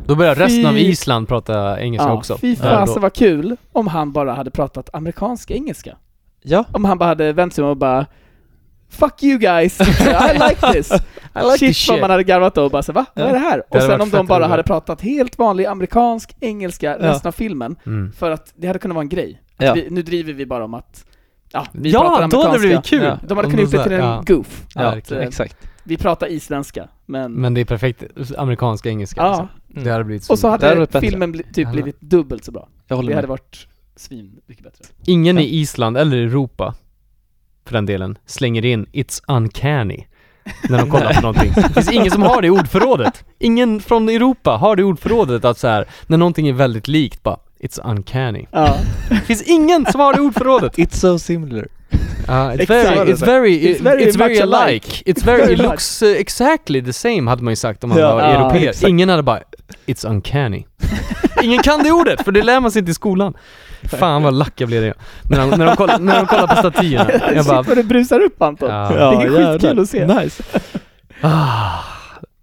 [SPEAKER 1] Då börjar resten av
[SPEAKER 6] Fy-
[SPEAKER 1] Island prata engelska
[SPEAKER 6] Ja,
[SPEAKER 1] också.
[SPEAKER 6] Fy
[SPEAKER 1] Ja,
[SPEAKER 6] fasen
[SPEAKER 1] då.
[SPEAKER 6] vad kul om han bara hade pratat amerikansk engelska.
[SPEAKER 5] Ja.
[SPEAKER 6] Om han bara hade vänt sig om och bara Fuck you guys, <laughs> I
[SPEAKER 1] <laughs>
[SPEAKER 6] like this! I like shit,
[SPEAKER 1] this
[SPEAKER 6] vad
[SPEAKER 1] shit.
[SPEAKER 6] man hade garvat då och bara så, va? Vad är det här?
[SPEAKER 1] Det
[SPEAKER 6] Och
[SPEAKER 1] hade
[SPEAKER 6] sen
[SPEAKER 1] varit
[SPEAKER 6] om de
[SPEAKER 1] fett
[SPEAKER 6] bara
[SPEAKER 1] roligt.
[SPEAKER 6] hade pratat helt vanlig amerikansk engelska resten av filmen,
[SPEAKER 1] Mm.
[SPEAKER 6] för att det hade kunnat vara en grej. Att
[SPEAKER 5] Ja.
[SPEAKER 6] vi, nu driver vi bara om att, ja, vi pratar
[SPEAKER 1] Ja, då
[SPEAKER 6] amerikanska.
[SPEAKER 1] hade det blivit kul!
[SPEAKER 5] Ja.
[SPEAKER 6] De hade
[SPEAKER 1] Om
[SPEAKER 6] kunnat gjort
[SPEAKER 1] så
[SPEAKER 6] det
[SPEAKER 1] här-
[SPEAKER 6] till en
[SPEAKER 1] ja.
[SPEAKER 6] goof.
[SPEAKER 1] Ja,
[SPEAKER 6] att,
[SPEAKER 1] verkligen.
[SPEAKER 6] eh,
[SPEAKER 5] Exakt.
[SPEAKER 6] vi pratar isländska, men...
[SPEAKER 1] Men det är perfekt amerikanska engelska
[SPEAKER 6] ja,
[SPEAKER 1] liksom. Det hade blivit så
[SPEAKER 6] och så
[SPEAKER 1] bra.
[SPEAKER 5] Det hade
[SPEAKER 6] hade
[SPEAKER 5] varit bättre.
[SPEAKER 6] filmen bli, typ
[SPEAKER 1] Ja.
[SPEAKER 6] blivit dubbelt så bra.
[SPEAKER 5] Jag
[SPEAKER 6] Det
[SPEAKER 5] håller
[SPEAKER 6] hade
[SPEAKER 5] med.
[SPEAKER 6] varit svin mycket bättre.
[SPEAKER 1] Ingen i Island, eller Europa för den delen, slänger in “It's uncanny” när de
[SPEAKER 6] <laughs>
[SPEAKER 5] <laughs>
[SPEAKER 1] kollar på någonting. Det finns ingen som har det i ordförrådet. Ingen från Europa har det i ordförrådet att så här, när någonting är väldigt likt bara “It's uncanny”.
[SPEAKER 6] Ja.
[SPEAKER 1] Det finns ingen som har det i <laughs> ordförrådet!
[SPEAKER 5] It's so similar.
[SPEAKER 1] Uh, it's,
[SPEAKER 6] Exakt.
[SPEAKER 1] very, it's very,
[SPEAKER 6] It's
[SPEAKER 1] it's very,
[SPEAKER 6] very
[SPEAKER 1] it's very
[SPEAKER 6] much
[SPEAKER 1] alike.
[SPEAKER 6] alike.
[SPEAKER 1] It's very,
[SPEAKER 6] Very
[SPEAKER 1] it
[SPEAKER 6] much.
[SPEAKER 1] looks uh, exactly the same hade man ju sagt om man
[SPEAKER 5] Ja.
[SPEAKER 1] var
[SPEAKER 6] Ja,
[SPEAKER 1] europeer.
[SPEAKER 6] exakt.
[SPEAKER 1] Ingen hade bara, it's uncanny. Ingen kan det ordet, för det lär man sig inte i skolan. Fan vad lack jag blev det. När de, när de, kollar, när de kollar på statyerna. <laughs> Jag
[SPEAKER 6] Shit
[SPEAKER 1] bara,
[SPEAKER 6] vad det brusar upp Anton!
[SPEAKER 1] ja.
[SPEAKER 6] Det är skitkul att se!
[SPEAKER 5] Nice.
[SPEAKER 1] Ah.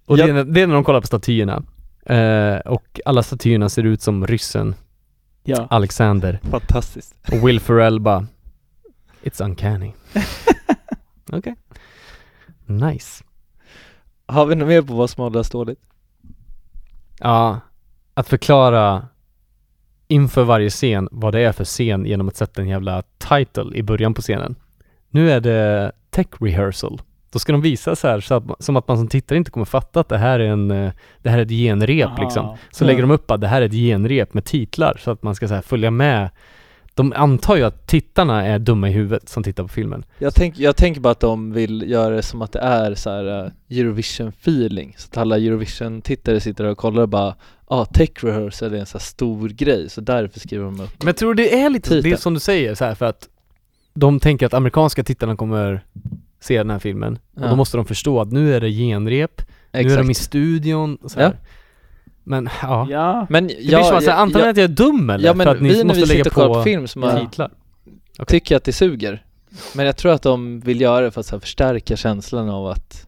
[SPEAKER 1] Och det
[SPEAKER 5] Jag-
[SPEAKER 1] är, när- det är när de kollar på statyerna. Eh, och alla statyerna ser ut som ryssen
[SPEAKER 6] Ja.
[SPEAKER 1] Alexander.
[SPEAKER 5] Fantastiskt.
[SPEAKER 1] Och Will Ferrell bara, it's uncanny. Okej. Nice.
[SPEAKER 5] Har vi något mer på vad som hållas dåligt?
[SPEAKER 1] Ja, att förklara inför varje scen vad det är för scen genom att sätta en jävla title i början på scenen. Nu är det tech rehearsal. Då ska de visa så här, så att, som att man som tittare inte kommer fatta att det här är, en, eh, det här är ett genrep
[SPEAKER 6] Aha.
[SPEAKER 1] liksom. Så lägger de upp att det här är ett genrep med titlar så att man ska så här följa med. De antar ju att tittarna är dumma i huvudet som tittar på filmen.
[SPEAKER 5] Jag, tänk, jag tänker bara att de vill göra det som att det är så här eh, Eurovision-feeling. Så att alla Eurovision-tittare sitter och kollar och bara ah, tech rehearsal är en så här stor grej, så därför skriver de upp.
[SPEAKER 1] Men jag tror det är lite det
[SPEAKER 5] Titeln.
[SPEAKER 1] som du säger så här för att de tänker att amerikanska tittarna kommer se den här filmen och
[SPEAKER 5] Ja.
[SPEAKER 1] då måste de förstå att nu är det genrep, nu är de i studion och så här.
[SPEAKER 5] Ja.
[SPEAKER 1] Men ja.
[SPEAKER 6] ja.
[SPEAKER 5] Men
[SPEAKER 1] det blir som att säga, antingen att jag är dum eller?
[SPEAKER 5] Ja men
[SPEAKER 1] för att ni
[SPEAKER 5] vi när
[SPEAKER 1] måste
[SPEAKER 5] vi
[SPEAKER 1] lägga
[SPEAKER 5] sitter och kollar
[SPEAKER 1] på
[SPEAKER 5] på film som
[SPEAKER 1] ja.
[SPEAKER 5] har-
[SPEAKER 1] titlar.
[SPEAKER 5] tycker att det suger. Men jag tror att de vill göra det för att så här, förstärka känslan av att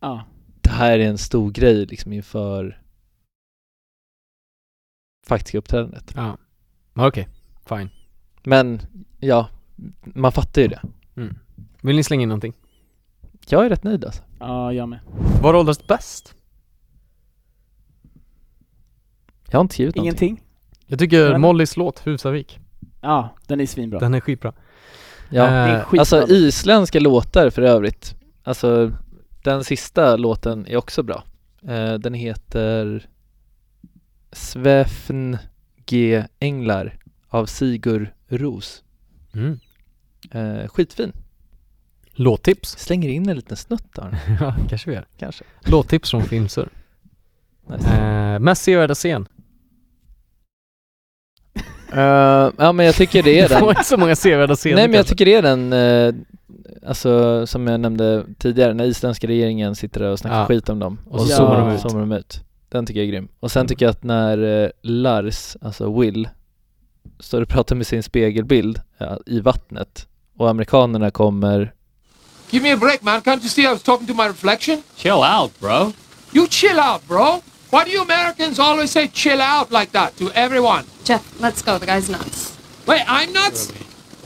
[SPEAKER 6] Ja.
[SPEAKER 5] det här är en stor grej liksom inför faktiska uppträdandet.
[SPEAKER 1] Ja. Okej, fine.
[SPEAKER 5] Men ja, man fattar ju det.
[SPEAKER 1] Mm. Vill ni slänga in någonting?
[SPEAKER 5] Jag är rätt nöjd alltså.
[SPEAKER 6] Ja, jag med.
[SPEAKER 1] Vad åldras bäst?
[SPEAKER 5] Jag har inte skrivit någonting.
[SPEAKER 6] Ingenting?
[SPEAKER 1] Jag tycker
[SPEAKER 6] Men-
[SPEAKER 1] Mollys låt, Husavik.
[SPEAKER 6] Ja, den är svinbra.
[SPEAKER 1] Den är skitbra.
[SPEAKER 5] Ja,
[SPEAKER 1] Eh,
[SPEAKER 6] det är skitbra.
[SPEAKER 5] Alltså isländska låtar för övrigt. Alltså den sista låten är också bra. Eh, den heter Svefn G Änglar av Sigur Ros.
[SPEAKER 1] mm.
[SPEAKER 5] Eh, skitfin.
[SPEAKER 1] Låttips.
[SPEAKER 5] Slänger in en liten snutt där
[SPEAKER 1] <laughs> ja, kanske vi gör.
[SPEAKER 5] kanske.
[SPEAKER 1] Låttips från Filmsur.
[SPEAKER 5] Nice.
[SPEAKER 1] Eh, mest sevärda scen.
[SPEAKER 5] Eh, ja men jag
[SPEAKER 1] <laughs>
[SPEAKER 5] tycker det är
[SPEAKER 1] Det var
[SPEAKER 5] den.
[SPEAKER 1] inte så många sevärda scener
[SPEAKER 5] Nej men jag
[SPEAKER 1] kanske.
[SPEAKER 5] tycker det är den, eh, alltså som jag nämnde tidigare, när isländska regeringen sitter där och snackar
[SPEAKER 1] Ja.
[SPEAKER 5] skit om dem.
[SPEAKER 1] Och
[SPEAKER 6] så
[SPEAKER 5] så
[SPEAKER 6] zoomar de ut.
[SPEAKER 5] zoomar de ut. Den tycker jag är grym. Och sen tycker jag att när eh, Lars, alltså Will, står och pratar med sin spegelbild ja, i vattnet och amerikanerna kommer
[SPEAKER 4] Give me a break, man. Can't you see I was talking to my reflection?
[SPEAKER 3] Chill out, bro.
[SPEAKER 4] You chill out, bro. Why do you Americans always say chill out like that to everyone?
[SPEAKER 8] Jeff, let's go. The guy's nuts.
[SPEAKER 4] Wait, I'm nuts?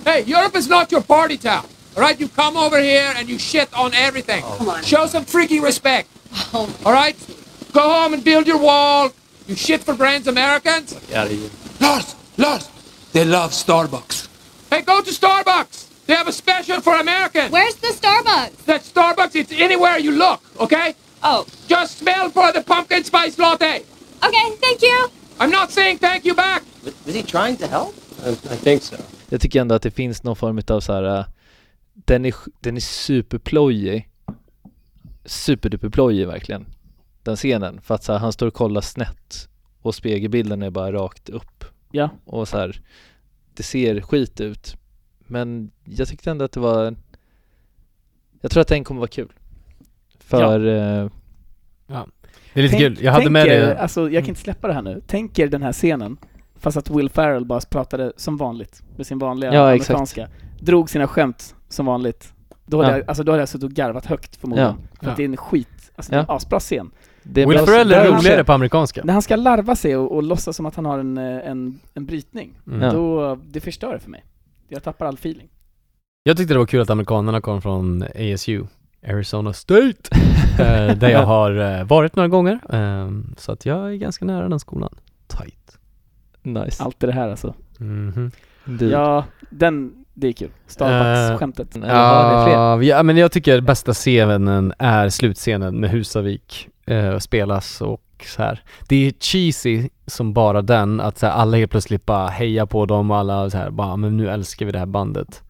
[SPEAKER 4] Hey, Europe is not your party town. All right, you come over here and you shit on everything.
[SPEAKER 8] Oh. Come on.
[SPEAKER 4] Show some freaking respect.
[SPEAKER 8] <laughs> Oh
[SPEAKER 4] All right? Go home and build your wall. You shit for brands Americans.
[SPEAKER 3] Out of here.
[SPEAKER 4] Lars, Lars, they love Starbucks. Hey, go to Starbucks. They have a special for Americans.
[SPEAKER 8] Where's the Starbucks?
[SPEAKER 4] That Starbucks, it's anywhere you look, okay?
[SPEAKER 8] Oh,
[SPEAKER 4] Just smell for the pumpkin spice latte.
[SPEAKER 8] okay. Thank you.
[SPEAKER 4] I'm not saying thank you back.
[SPEAKER 11] Was he trying to help?
[SPEAKER 3] I, I think so.
[SPEAKER 5] Jag tycker ändå att det finns någon form av så här. äh, den är, sj- den är superplojig. Superduperplojig verkligen. Den scenen. För att så här, han står och kollar snett och spegelbilden är bara rakt upp.
[SPEAKER 6] Ja.
[SPEAKER 5] Och så här, det ser skit ut. Men jag tyckte ändå att det var, jag tror att den kommer vara kul. För, eh,
[SPEAKER 1] Det är lite
[SPEAKER 6] Tänk-
[SPEAKER 1] kul. Jag hade
[SPEAKER 6] tänk
[SPEAKER 1] med
[SPEAKER 6] er-
[SPEAKER 1] det.
[SPEAKER 6] Alltså, jag kan inte släppa det här nu. Tänk er den här scenen, fast att Will Ferrell bara pratade som vanligt, med sin vanliga
[SPEAKER 5] Ja, exakt.
[SPEAKER 6] amerikanska. Drog sina skämt som vanligt. Då hade,
[SPEAKER 5] Ja.
[SPEAKER 6] jag, alltså, då hade jag suttit och garvat högt förmodligen. För att
[SPEAKER 1] Ja.
[SPEAKER 6] det är en skit, alltså det är en asbra scen.
[SPEAKER 5] det är
[SPEAKER 1] Will
[SPEAKER 5] bra-
[SPEAKER 1] Ferrell är
[SPEAKER 5] där-
[SPEAKER 1] roligare
[SPEAKER 5] <laughs>
[SPEAKER 1] på amerikanska.
[SPEAKER 6] När han ska larva sig och, och låtsas som att han har en, eh, en, en brytning,
[SPEAKER 1] Mm.
[SPEAKER 5] Ja.
[SPEAKER 6] då, det förstör det för mig. Jag tappar all feeling.
[SPEAKER 1] Jag tyckte det var kul att amerikanerna kom från ASU, Arizona State, eh, <laughs> där jag har eh, varit några gånger. eh, Så att jag är ganska nära den skolan. Tight.
[SPEAKER 5] Nice.
[SPEAKER 6] Allt det här alltså.
[SPEAKER 1] Mhm.
[SPEAKER 5] Du.
[SPEAKER 6] Ja, den, det är kul. Starbucks-skämtet.
[SPEAKER 5] Eller har ni fler?
[SPEAKER 1] Ja, vi- ja, men jag tycker bästa scenen är slutscenen med Husavik eh, spelas och så här. Det är cheesy som bara den, att så här, alla helt plötsligt bara hejar på dem och alla så här, bara, men nu älskar vi det här bandet.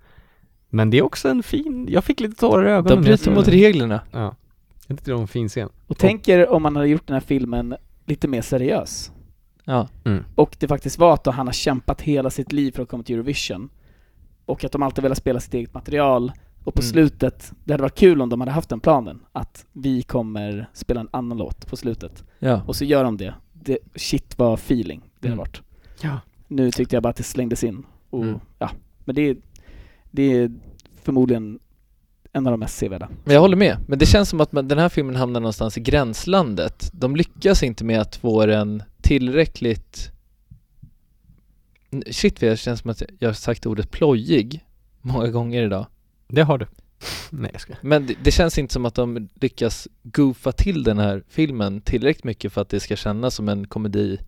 [SPEAKER 1] Men det är också en fin, jag fick lite tårar i ögonen.
[SPEAKER 5] De
[SPEAKER 1] när jag
[SPEAKER 5] bryter
[SPEAKER 1] såg
[SPEAKER 5] mot
[SPEAKER 1] den.
[SPEAKER 5] reglerna.
[SPEAKER 1] Ja. Jag tyckte det var en fin scen.
[SPEAKER 6] Och tänk er om man hade gjort den här filmen lite mer seriös.
[SPEAKER 5] Ja.
[SPEAKER 1] Mm.
[SPEAKER 6] Och det faktiskt var att då han har kämpat hela sitt liv för att komma till Eurovision. Och att de alltid velat spela sitt eget material. Och på
[SPEAKER 5] Mm.
[SPEAKER 6] slutet, det hade varit kul om de hade haft den planen. Att vi kommer spela en annan låt på slutet.
[SPEAKER 5] Ja.
[SPEAKER 6] Och så gör de det. det shit vad feeling det
[SPEAKER 1] Mm.
[SPEAKER 6] har varit.
[SPEAKER 1] Ja.
[SPEAKER 6] Nu tyckte jag bara att det slängdes in. Och,
[SPEAKER 1] Mm.
[SPEAKER 6] ja. Men det är, det är förmodligen en av de mest sevärda.
[SPEAKER 5] Men jag håller med, men det känns som att man, den här filmen hamnar någonstans i gränslandet. De lyckas inte med att få den tillräckligt... N- Shit, det känns som att jag har sagt ordet plojig många gånger idag.
[SPEAKER 1] Det har du. Nej jag skojar.
[SPEAKER 5] Men det, det känns inte som att de lyckas goofa till den här filmen tillräckligt mycket för att det ska kännas som en komedi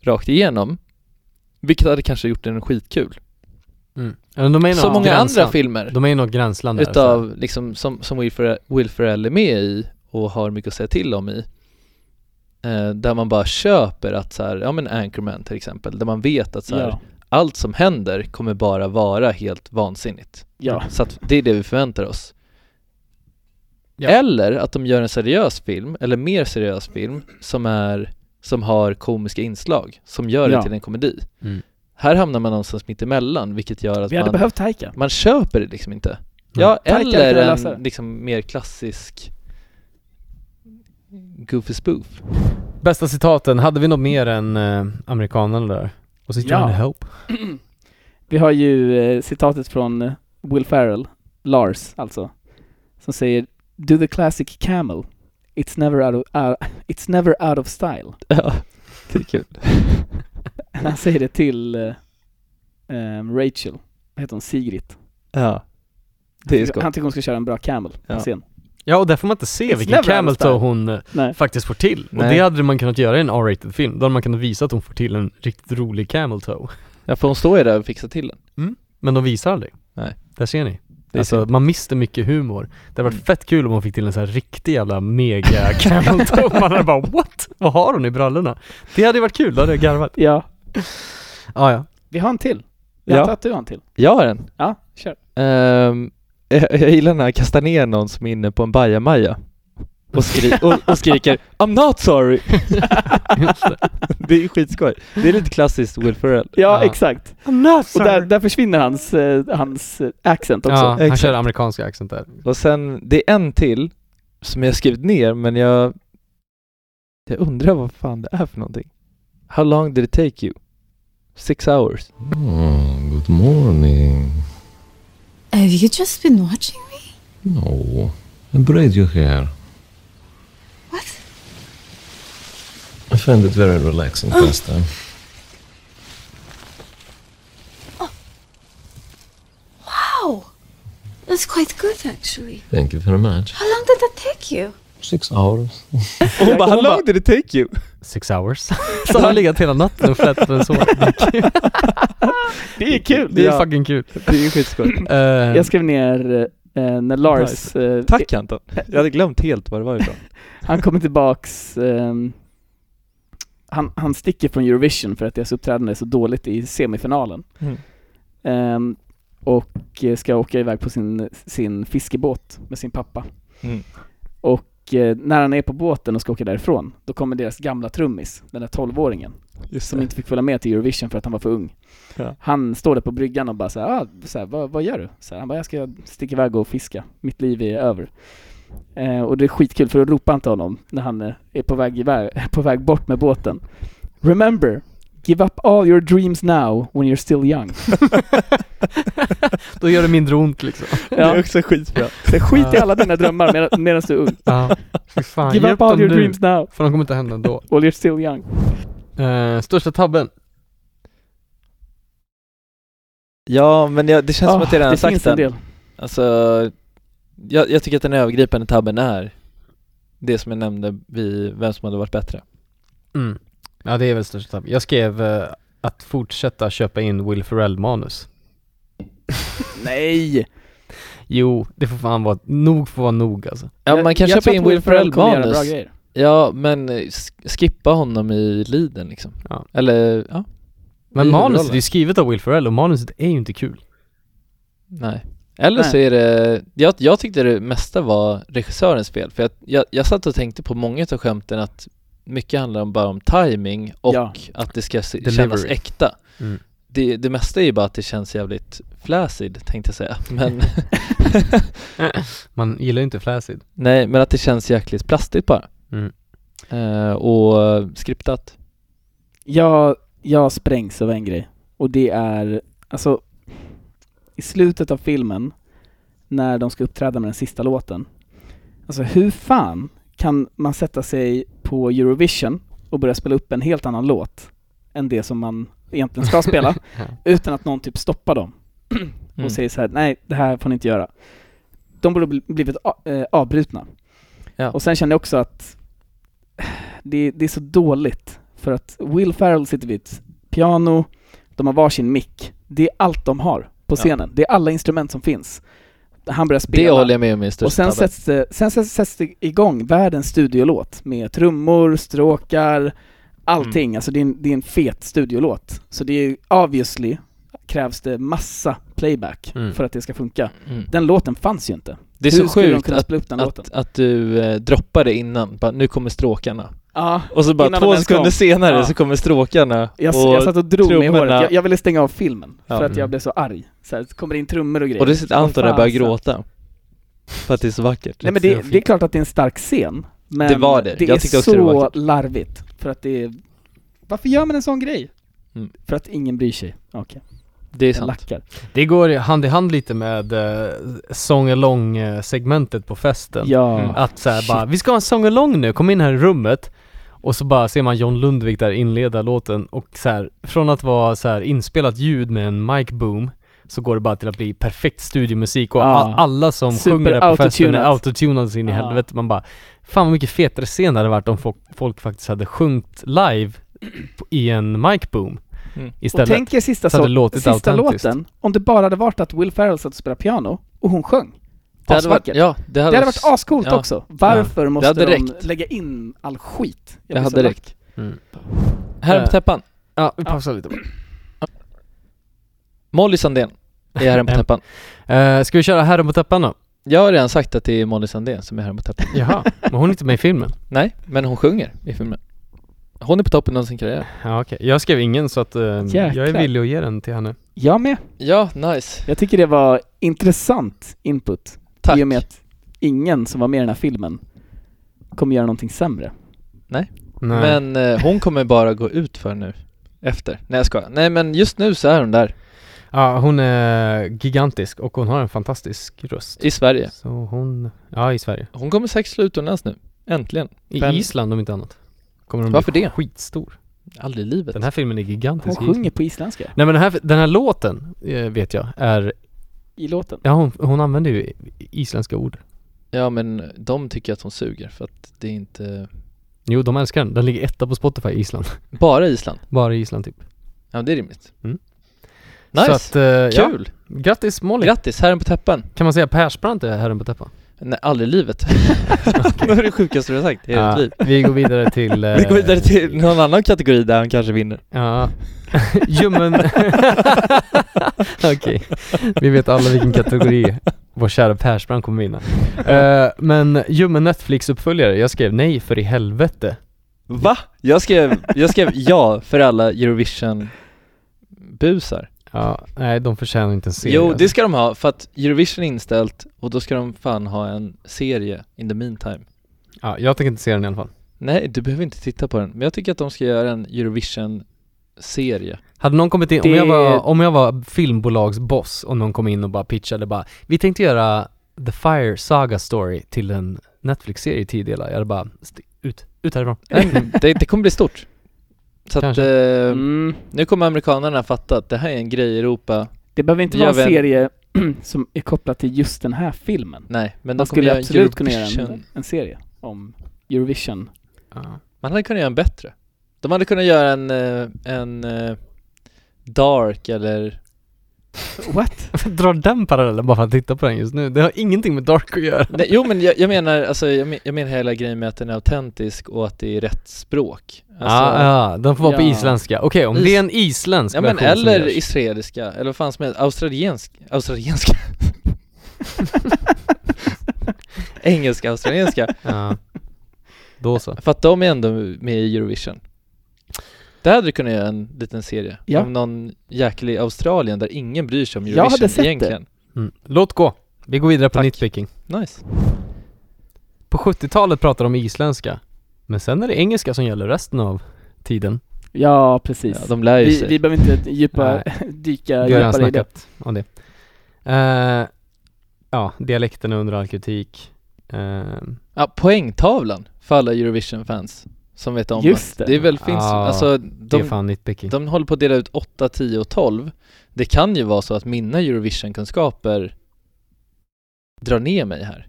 [SPEAKER 5] rakt igenom. Vilket hade kanske gjort den skitkul.
[SPEAKER 1] Mm. Ja, men De är i
[SPEAKER 5] Som
[SPEAKER 1] något
[SPEAKER 5] många
[SPEAKER 1] gränsland.
[SPEAKER 5] andra filmer.
[SPEAKER 1] De är i något gränsland där, så-
[SPEAKER 5] Utav liksom, som, som Will, Ferrell, Will Ferrell är med i och har mycket att säga till om i. Eh, där man bara köper att så här, ja men Anchorman till exempel, där man vet att så här,
[SPEAKER 6] Ja.
[SPEAKER 5] allt som händer kommer bara vara helt vansinnigt.
[SPEAKER 6] Ja.
[SPEAKER 5] Så att det är det vi förväntar oss.
[SPEAKER 1] Ja.
[SPEAKER 5] Eller att de gör en seriös film, eller mer seriös film, som är som har komiska inslag, som gör
[SPEAKER 6] Ja.
[SPEAKER 5] det till en komedi.
[SPEAKER 1] Mm.
[SPEAKER 5] Här hamnar man någonstans mitt emellan, vilket gör att
[SPEAKER 6] Vi hade
[SPEAKER 5] man,
[SPEAKER 6] behövt Taika.
[SPEAKER 5] man köper det liksom
[SPEAKER 1] Mm.
[SPEAKER 5] inte. Ja,
[SPEAKER 6] Taika,
[SPEAKER 5] eller liksom
[SPEAKER 6] kan jag läsa det?
[SPEAKER 5] en liksom mer klassisk Goofy Spoof.
[SPEAKER 1] Bästa citaten, hade vi något mer än eh, amerikanen där? Och så
[SPEAKER 6] Ja.
[SPEAKER 1] Johnny Hope.
[SPEAKER 6] <clears throat> Vi har ju eh, citatet från eh, Will Ferrell, Lars alltså, som säger Do the classic camel. It's never out of, out- <laughs> it's never out of style. <laughs>
[SPEAKER 5] Ja, det är kul.
[SPEAKER 6] Han säger det till eh, ehm, Rachel, Vad heter hon Sigrid.
[SPEAKER 5] Ja.
[SPEAKER 6] Han
[SPEAKER 5] Det är
[SPEAKER 6] tycker-
[SPEAKER 5] skoj.
[SPEAKER 6] Han tycker hon ska köra en bra camel på
[SPEAKER 5] Ja.
[SPEAKER 6] scen.
[SPEAKER 1] Ja, och där får man inte se
[SPEAKER 6] It's
[SPEAKER 1] vilken
[SPEAKER 6] never
[SPEAKER 1] camel toe
[SPEAKER 6] understand.
[SPEAKER 1] hon eh,
[SPEAKER 6] Nej.
[SPEAKER 1] faktiskt får till. Och
[SPEAKER 5] Nej.
[SPEAKER 1] det hade man kunnat göra i en R-rated film. Då hade man kunnat visa att hon får till en riktigt rolig camel toe.
[SPEAKER 5] Ja, för hon står ju där och fixar till den.
[SPEAKER 1] Men de visar aldrig.
[SPEAKER 5] Nej.
[SPEAKER 1] Där ser ni.
[SPEAKER 5] Det är
[SPEAKER 1] alltså,
[SPEAKER 5] synd.
[SPEAKER 1] man mister mycket humor. Det hade varit fett kul om hon fick till en sån här riktig jävla <laughs> mega camel toe. Man hade bara what? Vad har hon i brallorna? Det hade ju varit kul, då hade jag garvat.
[SPEAKER 6] Ja,
[SPEAKER 1] Ah, ja.
[SPEAKER 6] vi har en till. Jag
[SPEAKER 5] Ja.
[SPEAKER 6] antar att du har en till.
[SPEAKER 5] Jag har en.
[SPEAKER 6] Ja, kör.
[SPEAKER 5] Ehm, <laughs> jag, jag gillar när han kastar ner någon som är inne på en bajamaja och, skri och,
[SPEAKER 1] <laughs>
[SPEAKER 5] och skriker I'm not sorry! det är ju skitskoj. Det är lite klassiskt Will Ferrell.
[SPEAKER 6] Ja,
[SPEAKER 1] Ja.
[SPEAKER 6] exakt. Och där, där försvinner hans, eh, hans eh, accent också.
[SPEAKER 1] ja han
[SPEAKER 5] Exakt.
[SPEAKER 1] kör amerikanska accent där.
[SPEAKER 5] Och sen, det är en till som jag skrivit ner men jag jag undrar vad fan det är för någonting. How long did it take you? Six hours.
[SPEAKER 9] Oh, good morning.
[SPEAKER 8] Have you just been watching me?
[SPEAKER 9] No, I braid your hair.
[SPEAKER 8] What?
[SPEAKER 9] I find it very relaxing pastime.
[SPEAKER 8] Wow. That's quite good actually.
[SPEAKER 9] Thank you very much.
[SPEAKER 8] How long did that take you?
[SPEAKER 9] Six hours.
[SPEAKER 5] Hon bara, how long did it take you?
[SPEAKER 1] Six hours. <laughs> Så han har legat hela natten och flätat en så.
[SPEAKER 6] Det är <laughs> kul!
[SPEAKER 1] Det är
[SPEAKER 5] Ja.
[SPEAKER 1] fucking kul.
[SPEAKER 5] Det är ju skitskoj.
[SPEAKER 1] Eh,
[SPEAKER 6] Jag skrev ner eh, när Lars, eh,
[SPEAKER 5] Tack Anton. <laughs> Jag hade glömt helt vad det
[SPEAKER 6] <laughs>
[SPEAKER 5] var ifrån.
[SPEAKER 6] han kommer tillbaks, ehm, han, han sticker från Eurovision för att deras uppträdande är så dåligt i semifinalen.
[SPEAKER 5] Mm.
[SPEAKER 6] Ehm, och eh, ska åka iväg på sin, sin fiskebåt med sin pappa.
[SPEAKER 5] Mm.
[SPEAKER 6] Och eh, när han är på båten och ska åka därifrån, då kommer deras gamla trummis, den där tolvåringen,
[SPEAKER 5] Just
[SPEAKER 6] som inte fick följa med till Eurovision för att han var för ung.
[SPEAKER 5] Ja.
[SPEAKER 6] Han står där på bryggan och bara såhär, ah, så här, vad, vad gör du? Så här, han bara, jag ska sticka iväg och fiska, mitt liv är över. Eh, och det är skitkul för då ropar han till honom när han eh, är på väg, iväg, <laughs> på väg bort med båten. Remember, give up all your dreams now when you're still young.
[SPEAKER 1] <laughs> Då gör det mindre ont
[SPEAKER 6] <laughs>
[SPEAKER 1] liksom.
[SPEAKER 5] <laughs> Det är
[SPEAKER 6] Ja,
[SPEAKER 5] också skitbra.
[SPEAKER 6] så skit i alla dina drömmar med- medan du är ung.
[SPEAKER 1] Ja. Fy fan,
[SPEAKER 6] Give
[SPEAKER 1] hjälp
[SPEAKER 6] up all
[SPEAKER 1] dem
[SPEAKER 6] your
[SPEAKER 1] nu.
[SPEAKER 6] dreams now
[SPEAKER 1] För de kommer inte hända ändå.
[SPEAKER 6] while you're still young.
[SPEAKER 1] Eh, största tabben?
[SPEAKER 5] Ja, men jag, det känns som
[SPEAKER 6] Ah,
[SPEAKER 5] att jag redan
[SPEAKER 6] det
[SPEAKER 5] sagt
[SPEAKER 6] finns en
[SPEAKER 5] den.
[SPEAKER 6] del.
[SPEAKER 5] Alltså, jag, jag tycker att den övergripande tabben är det som jag nämnde, vi, vem som hade varit bättre.
[SPEAKER 1] Mm. Ja det är väl största tabben. Jag skrev eh, att fortsätta köpa in Will Ferrell-manus.
[SPEAKER 6] Nej!
[SPEAKER 1] Jo, det får fan vara, nog får vara nog alltså.
[SPEAKER 5] Ja,
[SPEAKER 6] Jag-
[SPEAKER 5] man kan
[SPEAKER 6] jag
[SPEAKER 5] köpa
[SPEAKER 6] tror
[SPEAKER 5] in
[SPEAKER 6] att
[SPEAKER 5] Will
[SPEAKER 6] kommer göra bra
[SPEAKER 5] Ferrell-manus.
[SPEAKER 6] grejer.
[SPEAKER 5] Ja, men eh, sk- skippa honom i liden liksom.
[SPEAKER 1] Ja.
[SPEAKER 5] Eller, ja,
[SPEAKER 1] Men
[SPEAKER 5] I
[SPEAKER 1] manuset
[SPEAKER 5] huvudrollen.
[SPEAKER 1] är ju skrivet av Will Ferrell och manuset är ju inte kul.
[SPEAKER 5] nej. Eller så
[SPEAKER 6] Nej.
[SPEAKER 5] är det, jag, jag tyckte det mesta var regissörens fel, för jag, jag, jag satt och tänkte på många av skämten att mycket handlar om- bara om timing och
[SPEAKER 6] Ja.
[SPEAKER 5] att det ska se, kännas
[SPEAKER 1] Delivery.
[SPEAKER 5] äkta.
[SPEAKER 1] Mm.
[SPEAKER 5] Det, det mesta är ju bara att det känns jävligt flaccid, tänkte jag säga. Men
[SPEAKER 1] <laughs> Man gillar ju inte Flacid.
[SPEAKER 5] Nej, men att det känns jäkligt plastigt bara.
[SPEAKER 1] Mm.
[SPEAKER 5] Eh, och skriptat.
[SPEAKER 6] Jag, jag sprängs av en grej och det är, alltså i slutet av filmen när de ska uppträda med den sista låten. Alltså hur fan kan man sätta sig på Eurovision och börja spela upp en helt annan låt än det som man egentligen ska
[SPEAKER 5] <laughs>
[SPEAKER 6] spela
[SPEAKER 1] Ja.
[SPEAKER 6] utan att någon typ stoppar dem <clears throat> och
[SPEAKER 5] Mm.
[SPEAKER 6] säger så här: nej det här får ni inte göra. De borde bli- blivit a- eh, avbrutna.
[SPEAKER 5] Ja.
[SPEAKER 6] Och sen känner jag också att det, det är så dåligt för att Will Ferrell sitter vid ett piano, de har varsin mick. Det är allt de har på
[SPEAKER 5] Ja.
[SPEAKER 6] scenen. Det är alla instrument som finns. Han börjar
[SPEAKER 5] Det
[SPEAKER 6] spela.
[SPEAKER 5] håller jag med om är största
[SPEAKER 6] och sen
[SPEAKER 5] tabben.
[SPEAKER 6] sätts, det, sen sätts, sätts det igång världens studiolåt med trummor, stråkar, allting.
[SPEAKER 5] Mm.
[SPEAKER 6] Alltså det är, en, det är en fet studiolåt. Så det är obviously krävs det massa playback
[SPEAKER 1] Mm.
[SPEAKER 6] för att det ska funka.
[SPEAKER 5] Mm.
[SPEAKER 6] Den låten fanns ju inte.
[SPEAKER 5] Det är
[SPEAKER 6] Hur
[SPEAKER 5] så
[SPEAKER 6] skulle de
[SPEAKER 5] sjukt
[SPEAKER 6] kunna
[SPEAKER 5] att,
[SPEAKER 6] spela upp den låten?
[SPEAKER 5] att, att du eh, droppar det innan, bara, nu kommer stråkarna.
[SPEAKER 6] Ja,
[SPEAKER 5] Och så bara
[SPEAKER 6] Innan de
[SPEAKER 5] två
[SPEAKER 6] ens kom.
[SPEAKER 5] sekunder senare
[SPEAKER 6] Ja.
[SPEAKER 5] så kommer stråkarna.
[SPEAKER 6] jag,
[SPEAKER 5] och,
[SPEAKER 6] jag satt och drog mig i håret.
[SPEAKER 5] trummorna-
[SPEAKER 6] Jag, jag ville stänga av filmen
[SPEAKER 5] Ja.
[SPEAKER 6] för att jag
[SPEAKER 1] Mm.
[SPEAKER 6] blev så arg. Så här, det kommer in trummor och grejer.
[SPEAKER 5] och det sitter Anton där och
[SPEAKER 6] Vad
[SPEAKER 5] börjar
[SPEAKER 6] fan, så-
[SPEAKER 5] gråta. För att det är så vackert.
[SPEAKER 6] Nej men
[SPEAKER 1] Lite
[SPEAKER 6] det,
[SPEAKER 1] så
[SPEAKER 6] det är
[SPEAKER 1] fint.
[SPEAKER 6] klart att det är en stark scen, Men
[SPEAKER 5] Det var det.
[SPEAKER 6] det
[SPEAKER 5] Jag
[SPEAKER 6] är
[SPEAKER 5] tyckte också
[SPEAKER 6] så
[SPEAKER 5] det var vackert.
[SPEAKER 6] larvigt, för att det är... Varför gör man en sån grej?
[SPEAKER 5] Mm.
[SPEAKER 6] För att ingen bryr sig. Okej.
[SPEAKER 5] Det är
[SPEAKER 6] Jag
[SPEAKER 5] sant.
[SPEAKER 6] lackar.
[SPEAKER 1] Det går hand i hand lite med eh, sång segmentet på festen.
[SPEAKER 6] Ja.
[SPEAKER 5] Mm.
[SPEAKER 1] Att såhär bara, vi ska ha en sång nu, kom in här i rummet och så bara ser man John Lundvik där inleda låten och så här, från att vara så här inspelat ljud med en mic boom så går det bara till att bli perfekt studiomusik och
[SPEAKER 6] Ja.
[SPEAKER 1] a- alla som
[SPEAKER 6] Super
[SPEAKER 1] sjunger där på festen är
[SPEAKER 6] autotunat.
[SPEAKER 1] autotunade så in i
[SPEAKER 6] Ja.
[SPEAKER 1] helvete. Man bara, fan vad mycket fetare scen det hade varit om folk, folk faktiskt hade sjungit live på- i en mic boom
[SPEAKER 5] Mm.
[SPEAKER 1] istället.
[SPEAKER 6] och tänk er sista,
[SPEAKER 1] så hade
[SPEAKER 6] så,
[SPEAKER 1] det låtit
[SPEAKER 6] sista
[SPEAKER 1] autentiskt.
[SPEAKER 6] låten, om det bara hade varit att Will Ferrell satt och spelade piano och hon sjöng.
[SPEAKER 5] Det hade varit,
[SPEAKER 6] Asvackert.
[SPEAKER 5] ja, det hade,
[SPEAKER 6] Det hade varit ascoolt
[SPEAKER 5] ja.
[SPEAKER 6] också. Varför måste
[SPEAKER 5] hade
[SPEAKER 6] de
[SPEAKER 5] räckt.
[SPEAKER 6] lägga in all skit? Jag
[SPEAKER 5] Det
[SPEAKER 6] blir så
[SPEAKER 5] hade
[SPEAKER 6] lack.
[SPEAKER 5] räckt.
[SPEAKER 1] Mm.
[SPEAKER 5] Herren på täppan.
[SPEAKER 1] Ja, vi pausar lite.
[SPEAKER 5] Molly Sandén är herren på
[SPEAKER 1] Mm.
[SPEAKER 5] täppan.
[SPEAKER 1] Eh, ska vi köra Herren på täppan då?
[SPEAKER 5] Jag har redan sagt att det är Molly Sandén som är herren på täppan.
[SPEAKER 1] Jaha, men hon är inte med i filmen.
[SPEAKER 5] Nej, men hon sjunger i filmen. Hon är på toppen av sin karriär.
[SPEAKER 1] Ja okej, jag skrev ingen så att eh, jag är
[SPEAKER 6] Jäklar.
[SPEAKER 1] villig att ge den till henne.
[SPEAKER 6] Jag med.
[SPEAKER 5] Ja, nice.
[SPEAKER 6] Jag tycker det var intressant input.
[SPEAKER 5] Tack.
[SPEAKER 6] I och med att ingen som var med i den här filmen kommer göra någonting sämre.
[SPEAKER 1] Nej.
[SPEAKER 5] Men eh, hon kommer bara gå ut för nu. Efter. Nej jag skojar. Nej men just nu så är hon där.
[SPEAKER 1] Ja, hon är gigantisk och hon har en fantastisk röst.
[SPEAKER 5] I Sverige.
[SPEAKER 1] Så hon, ja i Sverige.
[SPEAKER 5] Hon kommer säkert slå utomlands nu. Äntligen.
[SPEAKER 1] I
[SPEAKER 5] Vem-
[SPEAKER 1] Island om inte annat. Kommer hon
[SPEAKER 5] Varför
[SPEAKER 1] bli
[SPEAKER 5] det?
[SPEAKER 1] skitstor.
[SPEAKER 5] Aldrig i livet.
[SPEAKER 1] Den här filmen är
[SPEAKER 6] Hon
[SPEAKER 1] gigantisk. i Island.
[SPEAKER 6] sjunger på isländska
[SPEAKER 1] Nej men den här, den här låten, eh, vet jag, är,
[SPEAKER 6] i låten.
[SPEAKER 1] ja hon, hon använder ju isländska ord.
[SPEAKER 5] Ja men de tycker att hon suger för att det är inte...
[SPEAKER 1] Jo, de älskar den. Den ligger etta på Spotify i Island. <laughs>
[SPEAKER 5] Bara Island.
[SPEAKER 1] Bara i Island typ.
[SPEAKER 5] Ja men det är rimligt.
[SPEAKER 1] Mm.
[SPEAKER 5] Nice.
[SPEAKER 1] Så att, eh,
[SPEAKER 5] Kul!
[SPEAKER 1] ja. Grattis Molly!
[SPEAKER 5] Grattis, herren på täppan.
[SPEAKER 1] kan man säga Persbrandt är herren på täppan?
[SPEAKER 5] Nej, aldrig i
[SPEAKER 1] <laughs>
[SPEAKER 5] livet. det var det sjukaste du har sagt i hela
[SPEAKER 1] Ja,
[SPEAKER 5] ditt liv.
[SPEAKER 1] vi går vidare
[SPEAKER 5] <laughs>
[SPEAKER 1] till...
[SPEAKER 5] Vi går vidare
[SPEAKER 1] eh,
[SPEAKER 5] till någon annan kategori där han kanske vinner.
[SPEAKER 1] Ja, <laughs> ljummen... <laughs> Okej, vi vet alla vilken kategori vår kära Persbrandt kommer vinna. Eh, men ljummen Netflix-uppföljare, jag skrev nej för i helvete.
[SPEAKER 5] Va? Jag skrev, jag skrev ja för alla Eurovision-busar.
[SPEAKER 1] Ja, nej de förtjänar inte en serie.
[SPEAKER 5] Jo, det
[SPEAKER 1] alltså.
[SPEAKER 5] ska de ha för att Eurovision är inställt och då ska de fan ha en serie in the meantime.
[SPEAKER 1] ja, jag tänker inte se den i alla fall.
[SPEAKER 5] Nej, du behöver inte titta på den, men jag tycker att de ska göra en Eurovision-serie.
[SPEAKER 1] <laughs> Hade någon kommit in, om,
[SPEAKER 6] Det-
[SPEAKER 1] jag var, om jag var filmbolagsboss och någon kom in och bara pitchade bara Vi tänkte göra The Fire Saga Story till en Netflix-serie i tio delar. Jag hade bara, "St- ut, ut härifrån.
[SPEAKER 5] Nej, men det, det kommer bli stort. Så att,
[SPEAKER 1] Kanske.
[SPEAKER 5] eh,
[SPEAKER 6] Mm.
[SPEAKER 5] nu kommer amerikanerna fatta att det här är en grej i Europa.
[SPEAKER 6] Det behöver inte
[SPEAKER 5] Jag
[SPEAKER 6] vara en
[SPEAKER 5] vet-
[SPEAKER 6] serie <clears throat> som är kopplad till just den här filmen.
[SPEAKER 5] Nej, men de
[SPEAKER 6] Man
[SPEAKER 5] kommer
[SPEAKER 6] skulle
[SPEAKER 5] göra en
[SPEAKER 6] absolut kunna
[SPEAKER 5] Eurovision.
[SPEAKER 6] göra en, en serie om
[SPEAKER 5] <laughs>
[SPEAKER 6] Eurovision.
[SPEAKER 1] Ja.
[SPEAKER 5] Man hade kunnat göra en bättre. De hade kunnat göra en, eh, en eh, Dark eller
[SPEAKER 6] What?
[SPEAKER 1] Dra den parallellen bara för att titta på den just nu. Det har ingenting med Dark att göra.
[SPEAKER 5] Nej, jo men jag, jag menar, alltså, jag, men, jag menar hela grejen med att den är autentisk och att det är rätt språk alltså,
[SPEAKER 1] ah, ja, den får vara på
[SPEAKER 6] Ja.
[SPEAKER 1] isländska. Okej, om
[SPEAKER 5] Is-
[SPEAKER 1] det är en isländsk
[SPEAKER 5] ja men
[SPEAKER 1] version som
[SPEAKER 5] eller
[SPEAKER 1] görs.
[SPEAKER 5] israeliska, eller vad fan som helst, australiensk,
[SPEAKER 1] <laughs>
[SPEAKER 5] australienska Engelska, australienska, <laughs>
[SPEAKER 1] Ja. Då så.
[SPEAKER 5] för att de är ändå med i Eurovision Där hade du kunnat göra en liten serie,
[SPEAKER 6] Ja.
[SPEAKER 5] om någon jäkel i Australien där ingen bryr sig om
[SPEAKER 6] Jag hade
[SPEAKER 5] Eurovision
[SPEAKER 6] sett det.
[SPEAKER 5] egentligen
[SPEAKER 1] Mm. Låt gå. Vi går vidare på
[SPEAKER 5] Tack.
[SPEAKER 1] nitpicking.
[SPEAKER 5] Nice
[SPEAKER 1] På 70-talet pratar de isländska. Men sen är det engelska som gäller resten av tiden.
[SPEAKER 6] Ja,
[SPEAKER 5] ja,
[SPEAKER 6] precis.
[SPEAKER 5] De lär ju
[SPEAKER 6] vi,
[SPEAKER 5] sig
[SPEAKER 6] vi behöver inte djupa, <laughs> dyka
[SPEAKER 1] Vi har redan
[SPEAKER 6] djupare i det.
[SPEAKER 1] snackat om det. Eh, ja, dialekten är under all kritik. Eh,
[SPEAKER 5] Ja, poängtavlan för alla Eurovision-fans som vet om
[SPEAKER 6] Just
[SPEAKER 5] att
[SPEAKER 6] det.
[SPEAKER 5] det är väl finns,
[SPEAKER 1] Ja,
[SPEAKER 5] alltså
[SPEAKER 1] Ah. det är
[SPEAKER 5] de,
[SPEAKER 1] fan nitpicking.
[SPEAKER 5] de håller på att dela ut 8, 10 och 12 Det kan ju vara så att mina Eurovision-kunskaper drar ner mig här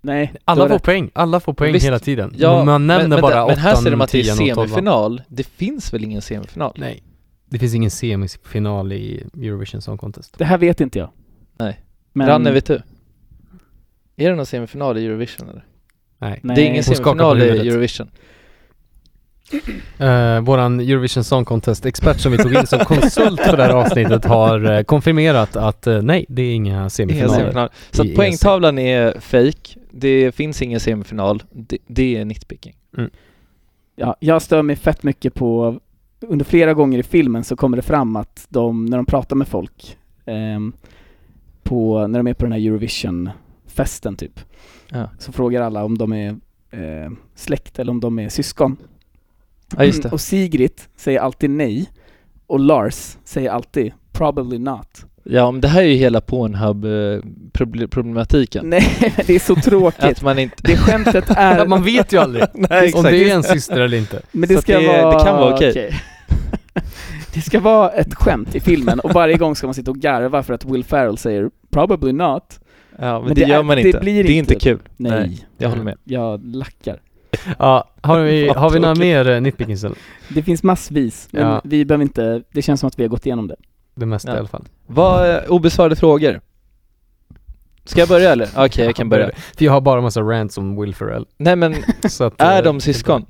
[SPEAKER 6] Nej,
[SPEAKER 1] alla
[SPEAKER 6] du har
[SPEAKER 1] får
[SPEAKER 6] rätt.
[SPEAKER 1] poäng, alla får poäng
[SPEAKER 5] Visst.
[SPEAKER 1] hela tiden.
[SPEAKER 5] Ja,
[SPEAKER 1] Man nämner
[SPEAKER 5] men,
[SPEAKER 1] bara
[SPEAKER 5] men, men här ser de
[SPEAKER 1] åttan,
[SPEAKER 5] att det är
[SPEAKER 1] tian och tolvan.
[SPEAKER 5] semifinal, det finns väl ingen semifinal?
[SPEAKER 1] Nej. Det finns ingen semifinal i Eurovision Song Contest.
[SPEAKER 6] Det här vet inte jag.
[SPEAKER 5] Nej.
[SPEAKER 6] Men...
[SPEAKER 5] Ranne, vet du? Är det någon semifinal i Eurovision eller?
[SPEAKER 1] Nej.
[SPEAKER 6] Nej.
[SPEAKER 5] Det är ingen
[SPEAKER 1] Hon skakar på
[SPEAKER 5] semifinal i
[SPEAKER 1] huvudet.
[SPEAKER 5] Eurovision
[SPEAKER 1] Eh, våran Eurovision Song Contest-expert som vi tog
[SPEAKER 5] <laughs>
[SPEAKER 1] in som konsult för det här avsnittet har eh, konfirmerat att eh, nej, det är inga
[SPEAKER 5] Ingen
[SPEAKER 1] semifinaler.
[SPEAKER 5] semifinal. Så
[SPEAKER 1] I
[SPEAKER 5] att
[SPEAKER 1] ESC.
[SPEAKER 5] poängtavlan är fake, det finns ingen semifinal, det, det är nitpicking
[SPEAKER 6] Ja, jag stör mig fett mycket på, under flera gånger i filmen så kommer det fram att de, när de pratar med folk, ehm, på, när de är på den här Eurovision-festen typ,
[SPEAKER 5] Ja.
[SPEAKER 6] så frågar alla om de är eh, släkt eller om de är syskon.
[SPEAKER 5] Ja, just det.
[SPEAKER 6] Mm, Och Sigrid säger alltid nej och Lars säger alltid probably not.
[SPEAKER 5] Ja, men det här är ju hela Pornhub-problematiken.
[SPEAKER 6] Nej, <laughs> men det är så tråkigt.
[SPEAKER 5] Att man inte...
[SPEAKER 6] det skämtet
[SPEAKER 5] <laughs>
[SPEAKER 6] är...
[SPEAKER 1] Man vet ju aldrig
[SPEAKER 5] Nej,
[SPEAKER 1] om
[SPEAKER 5] exakt.
[SPEAKER 1] det är en syster eller inte.
[SPEAKER 6] Men det
[SPEAKER 5] Så
[SPEAKER 6] ska
[SPEAKER 5] det-
[SPEAKER 6] vara...
[SPEAKER 5] det kan vara okej.
[SPEAKER 6] <laughs> det ska vara ett skämt i filmen och varje gång ska man sitta och garva för att Will Ferrell säger probably not.
[SPEAKER 5] Ja, men,
[SPEAKER 6] Men
[SPEAKER 5] det,
[SPEAKER 6] det
[SPEAKER 5] gör
[SPEAKER 6] är-
[SPEAKER 5] man
[SPEAKER 6] det
[SPEAKER 5] inte. Det,
[SPEAKER 6] blir
[SPEAKER 5] är inte Mm.
[SPEAKER 6] inte-
[SPEAKER 5] kul.
[SPEAKER 6] Nej,
[SPEAKER 5] jag håller med.
[SPEAKER 6] jag lackar.
[SPEAKER 1] Ja, har vi,
[SPEAKER 5] Vad
[SPEAKER 1] har vi några
[SPEAKER 5] tråkigt.
[SPEAKER 1] mer eh, nitpickings? eller?
[SPEAKER 6] Det finns massvis, men
[SPEAKER 1] Ja.
[SPEAKER 6] vi behöver inte, det känns som att vi har gått igenom det.
[SPEAKER 1] Det mesta
[SPEAKER 5] Ja.
[SPEAKER 1] i alla fall.
[SPEAKER 5] Vad, eh, obesvarade frågor? Ska jag börja eller? Okej, jag kan börja.
[SPEAKER 1] För jag har bara massa rants om Will Ferrell.
[SPEAKER 5] Nej <laughs> men,
[SPEAKER 1] Så att,
[SPEAKER 5] är
[SPEAKER 1] eh,
[SPEAKER 5] de <laughs> syskon?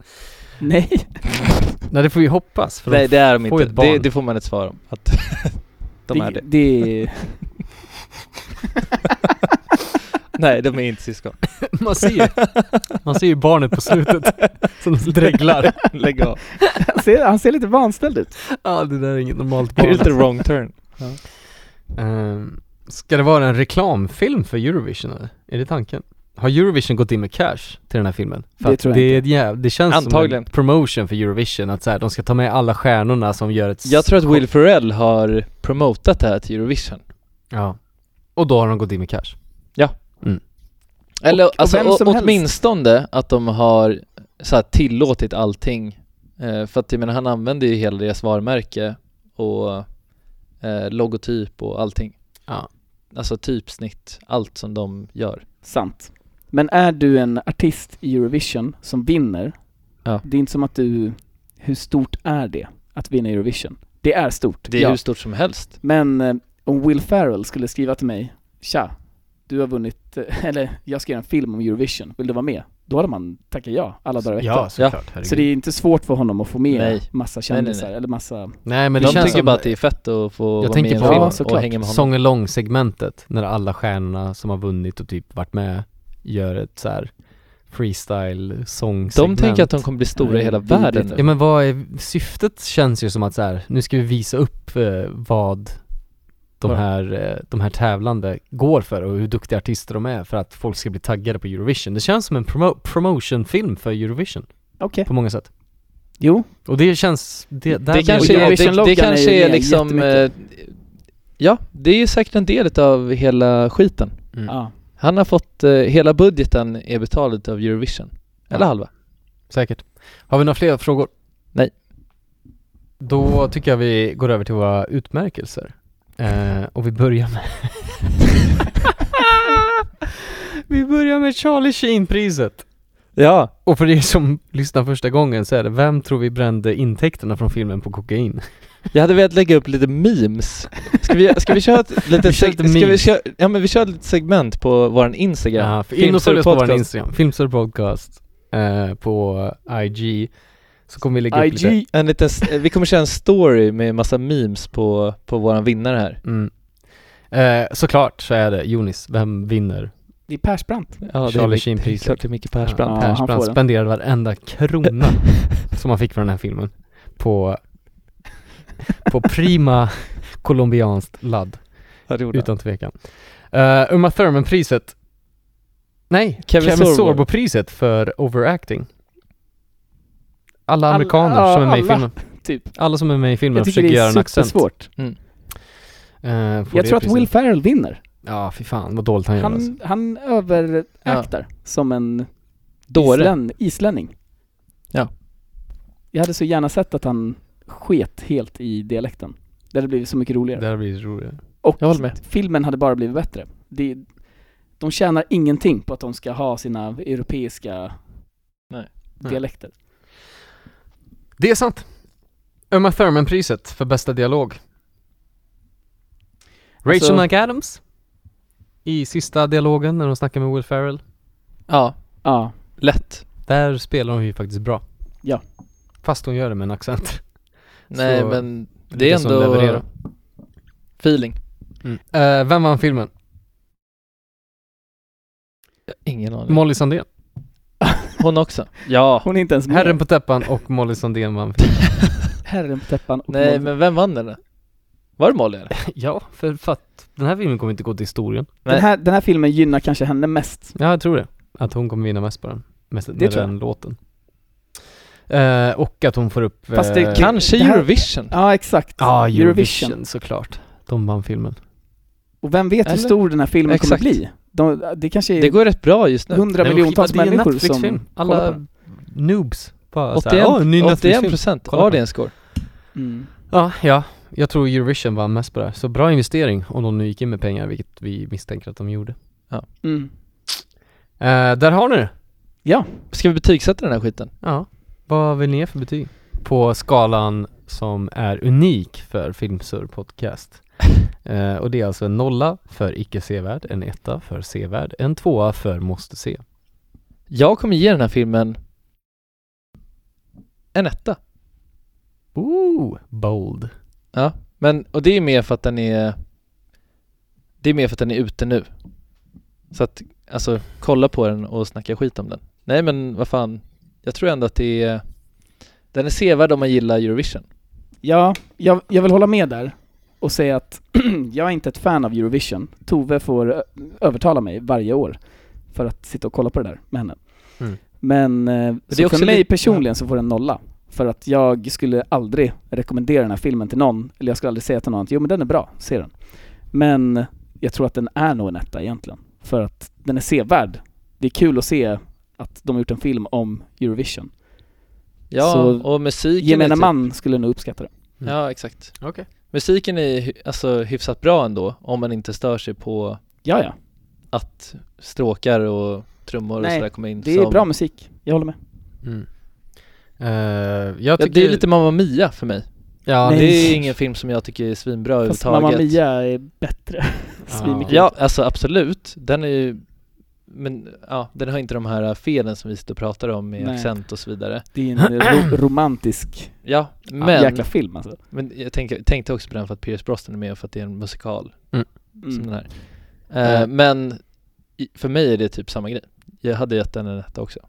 [SPEAKER 6] <laughs> Nej,
[SPEAKER 1] Nej, det får vi hoppas. För
[SPEAKER 5] Nej, det är de
[SPEAKER 1] får
[SPEAKER 5] inte.
[SPEAKER 1] ju ett barn.
[SPEAKER 5] Det, det får man ett svar om. Att <laughs> de är det.
[SPEAKER 6] det är...
[SPEAKER 5] <laughs> Nej, de är inte <laughs> syskon.
[SPEAKER 1] <laughs> man, ser ju, man ser ju barnet på slutet
[SPEAKER 5] <laughs>
[SPEAKER 1] som dreglar.
[SPEAKER 5] Lägg av.
[SPEAKER 6] Han ser, han ser lite vanställd ut.
[SPEAKER 1] Ja, det där är inget normalt
[SPEAKER 5] Det är
[SPEAKER 1] barn.
[SPEAKER 5] lite wrong turn.
[SPEAKER 1] Ehm, ska det vara en reklamfilm för Eurovision eller? Är det tanken? Har Eurovision gått in med cash till den här filmen?
[SPEAKER 6] Det
[SPEAKER 1] att
[SPEAKER 6] tror jag
[SPEAKER 1] det, är ett jäv- det känns
[SPEAKER 5] Antagligen.
[SPEAKER 1] som en promotion för Eurovision, att så här, de ska ta med alla stjärnorna som gör ett...
[SPEAKER 5] Jag tror att Will Ferrell har promotat det här till Eurovision.
[SPEAKER 1] Ja. Och då har de gått in med cash.
[SPEAKER 5] Eller
[SPEAKER 6] Och- och
[SPEAKER 5] alltså,
[SPEAKER 6] vem
[SPEAKER 5] å-
[SPEAKER 6] som helst.
[SPEAKER 5] åtminstone att de har så här, tillåtit allting. Eh, för att jag menar, han använder ju hela deras varumärke och eh, logotyp och allting.
[SPEAKER 1] Ja.
[SPEAKER 5] Alltså typsnitt, allt som de gör.
[SPEAKER 6] Sant. Men är du en artist i Eurovision som vinner,
[SPEAKER 5] Ja.
[SPEAKER 6] det är inte som att du, hur stort är det att vinna Eurovision? Det är stort,
[SPEAKER 5] Det är
[SPEAKER 6] ja.
[SPEAKER 5] hur stort som helst.
[SPEAKER 6] Men eh, om Will Ferrell skulle skriva till mig, tja, du har vunnit, eh, <laughs> eller jag ska göra en film om Eurovision, vill du vara med? Då hade man tackat ja, alla dagar i veckan.
[SPEAKER 1] såklart.
[SPEAKER 6] Så det är inte svårt för honom att få med
[SPEAKER 5] Nej.
[SPEAKER 6] massa
[SPEAKER 5] nej, nej.
[SPEAKER 6] kändisar eller massa...
[SPEAKER 1] Nej men det
[SPEAKER 5] de
[SPEAKER 1] känns
[SPEAKER 5] tycker
[SPEAKER 1] som
[SPEAKER 5] bara att det är fett att få vara
[SPEAKER 1] tänker
[SPEAKER 5] med
[SPEAKER 1] på-
[SPEAKER 5] i
[SPEAKER 1] Ja,
[SPEAKER 5] en film och
[SPEAKER 6] såklart.
[SPEAKER 5] hänga med honom.
[SPEAKER 1] sång och lång-segmentet, när alla stjärnorna som har vunnit och typ varit med gör ett så här freestyle sångsegment
[SPEAKER 5] De tänker att de kommer bli stora i
[SPEAKER 6] Nej,
[SPEAKER 5] hela
[SPEAKER 6] vidrigt.
[SPEAKER 5] världen nu.
[SPEAKER 1] Ja men vad är, syftet känns ju som att så här, nu ska vi visa upp eh, vad de
[SPEAKER 5] Vad?
[SPEAKER 1] här, eh, de här tävlande går för och hur duktiga artister de är för att folk ska bli taggade på Eurovision. Det känns som en promo- promotionfilm för Eurovision
[SPEAKER 6] Okej.
[SPEAKER 1] på Mm. många sätt.
[SPEAKER 6] Jo,
[SPEAKER 1] Och det känns, det, där
[SPEAKER 5] Det kanske,
[SPEAKER 1] blir-
[SPEAKER 5] är, det,
[SPEAKER 6] Eurovision-loggan
[SPEAKER 5] det
[SPEAKER 6] är ju
[SPEAKER 5] kanske är
[SPEAKER 6] med
[SPEAKER 5] liksom... Eh,
[SPEAKER 6] jättemycket.
[SPEAKER 5] ja, det är ju säkert en del av hela skiten.
[SPEAKER 1] Mm.
[SPEAKER 6] ja.
[SPEAKER 5] Han har fått, eh, hela budgeten är betald av Eurovision. Eller
[SPEAKER 1] Ja.
[SPEAKER 5] halva.
[SPEAKER 1] Säkert. Har vi några fler frågor?
[SPEAKER 5] Nej.
[SPEAKER 1] Då tycker jag vi går över till våra utmärkelser. Eh, och vi börjar med... <laughs> vi börjar med Charlie Sheen-priset.
[SPEAKER 5] Ja.
[SPEAKER 1] Och för er som lyssnar första gången så är det, vem tror vi brände intäkterna från filmen på kokain?
[SPEAKER 5] Jag hade velat lägga upp lite memes. <laughs> Ska vi, ska vi
[SPEAKER 1] <laughs>
[SPEAKER 5] köra ett litet...
[SPEAKER 1] Vi kör
[SPEAKER 5] seg-
[SPEAKER 1] lite
[SPEAKER 5] ska vi
[SPEAKER 1] memes.
[SPEAKER 5] köra, ja men vi kör ett litet segment på våran Instagram.
[SPEAKER 1] Ja, för in och följ oss på vår
[SPEAKER 5] Filmstorpodcast.
[SPEAKER 1] Instagram, Filmstor Podcast, eh, på IG. Så kommer vi lägga upp lite...
[SPEAKER 6] IG,
[SPEAKER 5] En liten, s- eh, vi kommer köra en story med massa memes på, på våran vinnare här.
[SPEAKER 1] Mm. Eh, såklart så är det Jonis, vem vinner
[SPEAKER 6] det är Persbrandt.
[SPEAKER 5] Ja,
[SPEAKER 1] Charlie Sheen-priset.
[SPEAKER 5] Klart det är Micke Persbrandt.
[SPEAKER 1] Ja,
[SPEAKER 6] Ja, han
[SPEAKER 1] Persbrandt
[SPEAKER 6] får den.
[SPEAKER 1] spenderade varenda
[SPEAKER 6] <laughs>
[SPEAKER 1] krona som han fick från den här filmen på, på prima colombianskt ladd,
[SPEAKER 5] Ja, det gjorde han.
[SPEAKER 1] utan tvekan. Eh, Uma Thurman-priset, nej,
[SPEAKER 5] Kevin
[SPEAKER 1] Kevin,
[SPEAKER 5] Sorbo.
[SPEAKER 1] Sorbo-priset för overacting. Alla
[SPEAKER 6] Alla-
[SPEAKER 1] amerikaner som är med i
[SPEAKER 6] alla,
[SPEAKER 1] filmen.
[SPEAKER 6] typ.
[SPEAKER 1] Alla som är med i filmen
[SPEAKER 6] Jag tycker
[SPEAKER 1] försöker
[SPEAKER 6] det
[SPEAKER 1] göra
[SPEAKER 6] är
[SPEAKER 1] en accent.
[SPEAKER 6] supersvårt.
[SPEAKER 1] Eh, får
[SPEAKER 6] Jag
[SPEAKER 1] det
[SPEAKER 6] tror att
[SPEAKER 1] priset.
[SPEAKER 6] Will Ferrell vinner.
[SPEAKER 1] Ja, fy fan vad dåligt han, gör alltså.
[SPEAKER 6] Han, han överaktar som en
[SPEAKER 5] Dåre.
[SPEAKER 6] islän, islänning.
[SPEAKER 5] Ja.
[SPEAKER 6] Jag hade så gärna sett att han sket helt i dialekten. Det hade blivit så mycket roligare.
[SPEAKER 1] Det här blir roligare.
[SPEAKER 6] Och
[SPEAKER 5] Jag håller med.
[SPEAKER 6] filmen hade bara blivit bättre. Det, de tjänar ingenting på att de ska ha sina europeiska
[SPEAKER 5] Nej.
[SPEAKER 6] dialekter.
[SPEAKER 1] Det är sant. Uma Thurman-priset för bästa dialog. Rachel
[SPEAKER 6] Alltså-
[SPEAKER 1] McAdams i sista dialogen när hon snackar med Will Ferrell.
[SPEAKER 5] Ja,
[SPEAKER 6] Ja, <laughs>
[SPEAKER 5] lätt.
[SPEAKER 1] Där spelar hon ju faktiskt bra.
[SPEAKER 6] Ja.
[SPEAKER 1] Fast hon gör det med en accent.
[SPEAKER 5] Nej
[SPEAKER 1] Så
[SPEAKER 5] men det är
[SPEAKER 1] lyckas hon
[SPEAKER 5] ändå
[SPEAKER 1] leverera.
[SPEAKER 5] feeling.
[SPEAKER 1] Eh, vem vann filmen?
[SPEAKER 5] Ingen aning.
[SPEAKER 1] Molly Sandén.
[SPEAKER 5] Hon också. Ja.
[SPEAKER 6] hon är inte ens med.
[SPEAKER 1] Herren på täppan och Molly Sandén vann filmen.
[SPEAKER 6] Herren på täppan och
[SPEAKER 5] Nej
[SPEAKER 6] Molly.
[SPEAKER 5] men vem vann den då? Var det Molly eller?
[SPEAKER 1] <laughs> ja, för, för att den här filmen kommer inte gå till historien.
[SPEAKER 6] den, här, den här filmen gynnar kanske henne mest.
[SPEAKER 1] Ja, jag tror det. Att hon kommer vinna mest på den. med,
[SPEAKER 6] Det
[SPEAKER 1] med
[SPEAKER 6] tror jag.
[SPEAKER 1] den låten. Eh, och att hon får upp...
[SPEAKER 6] Fast det
[SPEAKER 1] eh,
[SPEAKER 5] Kanske
[SPEAKER 6] det här-
[SPEAKER 5] Eurovision.
[SPEAKER 6] Ja, exakt.
[SPEAKER 1] Ja, Eurovision, såklart. De vann filmen.
[SPEAKER 6] Och vem vet hur
[SPEAKER 5] Eller?
[SPEAKER 6] stor den här filmen
[SPEAKER 5] Exakt.
[SPEAKER 6] kommer bli? De, det kanske är
[SPEAKER 5] Det går rätt bra just nu.
[SPEAKER 6] 100
[SPEAKER 1] Nej, men
[SPEAKER 6] miljontals
[SPEAKER 1] skitsamma, det är en
[SPEAKER 6] människor
[SPEAKER 1] Netflix-film.
[SPEAKER 6] som kollar på
[SPEAKER 1] Alla
[SPEAKER 6] den.
[SPEAKER 1] noobs bara såhär,
[SPEAKER 5] 81,
[SPEAKER 1] åh, en ny Netflix-film.
[SPEAKER 5] 81%
[SPEAKER 1] Kolla på
[SPEAKER 5] audience score.
[SPEAKER 6] Mm.
[SPEAKER 1] Ja, ja. Jag tror Eurovision vann mest på det här. Så bra investering om de nu gick in med pengar, vilket vi misstänker att de gjorde.
[SPEAKER 6] Mm.
[SPEAKER 1] Eh, där har ni det!
[SPEAKER 6] Ja,
[SPEAKER 5] Ska vi betygsätta den här skiten?
[SPEAKER 1] Ja. Vad vill ni ge för betyg? På skalan som är unik för Filmsur <laughs> Podcast. Eh, och det är alltså en nolla för icke sevärd, en etta för sevärd, en tvåa för måste se.
[SPEAKER 5] Jag kommer ge den här filmen en etta.
[SPEAKER 1] Ooh, bold.
[SPEAKER 5] Ja, men och det är mer för att den är Det är mer för att den är ute nu Så att, alltså kolla på den och snacka skit om den Nej men vad fan Jag tror ändå att det är Den är sevärd om man gillar Eurovision
[SPEAKER 6] ja jag, jag vill hålla med där och säga att <clears throat> jag är inte ett fan av Eurovision. Tove får ö- övertala mig varje år för att sitta och kolla på det där med henne.
[SPEAKER 1] Mm.
[SPEAKER 6] Men eh,
[SPEAKER 5] det
[SPEAKER 6] så
[SPEAKER 5] är också
[SPEAKER 6] för mig
[SPEAKER 5] lite-
[SPEAKER 6] personligen så får den nolla. För att jag skulle aldrig rekommendera den här filmen till någon, eller jag skulle aldrig säga till någon att jo men den är bra, se den. Men jag tror att den är nog en etta egentligen. För att den är sevärd. Det är kul att se att de har gjort en film om Eurovision.
[SPEAKER 5] Ja,
[SPEAKER 6] Så
[SPEAKER 5] och musiken är
[SPEAKER 6] Gemene
[SPEAKER 5] typ-
[SPEAKER 6] man skulle nog uppskatta det.
[SPEAKER 5] Ja, exakt
[SPEAKER 1] Okej.
[SPEAKER 5] Musiken är hy- alltså hyfsat bra ändå om man inte stör sig på
[SPEAKER 6] Ja, ja.
[SPEAKER 5] att stråkar och trummor och
[SPEAKER 6] Nej,
[SPEAKER 5] sådär kommer in
[SPEAKER 6] Det är
[SPEAKER 5] som,
[SPEAKER 6] bra musik, jag håller med.
[SPEAKER 1] Mm. Eh, jag
[SPEAKER 5] ja,
[SPEAKER 1] tycker...
[SPEAKER 5] Det är lite Mamma Mia för mig
[SPEAKER 1] Ja,
[SPEAKER 6] Nej.
[SPEAKER 5] Det är ingen film som jag tycker är svinbra
[SPEAKER 6] Fast
[SPEAKER 5] överhuvudtaget
[SPEAKER 6] Mamma Mia är bättre. <laughs> Svinmycket.
[SPEAKER 5] Ja, alltså absolut. Den är ju men ja, den har inte de här felen som vi sitter och pratar om med
[SPEAKER 6] Nej.
[SPEAKER 5] accent och så vidare.
[SPEAKER 6] Det är en
[SPEAKER 5] <clears throat>
[SPEAKER 6] ro- romantisk
[SPEAKER 5] Ja,
[SPEAKER 6] men,
[SPEAKER 5] men,
[SPEAKER 6] jäkla film alltså.
[SPEAKER 5] men jag tänker, tänkte också på den för att Pierce Brosnan är med och för att det är en musikal som den
[SPEAKER 6] Mm.
[SPEAKER 5] här. Eh, Men i- för mig är det typ samma grej. Jag hade gett den en etta också.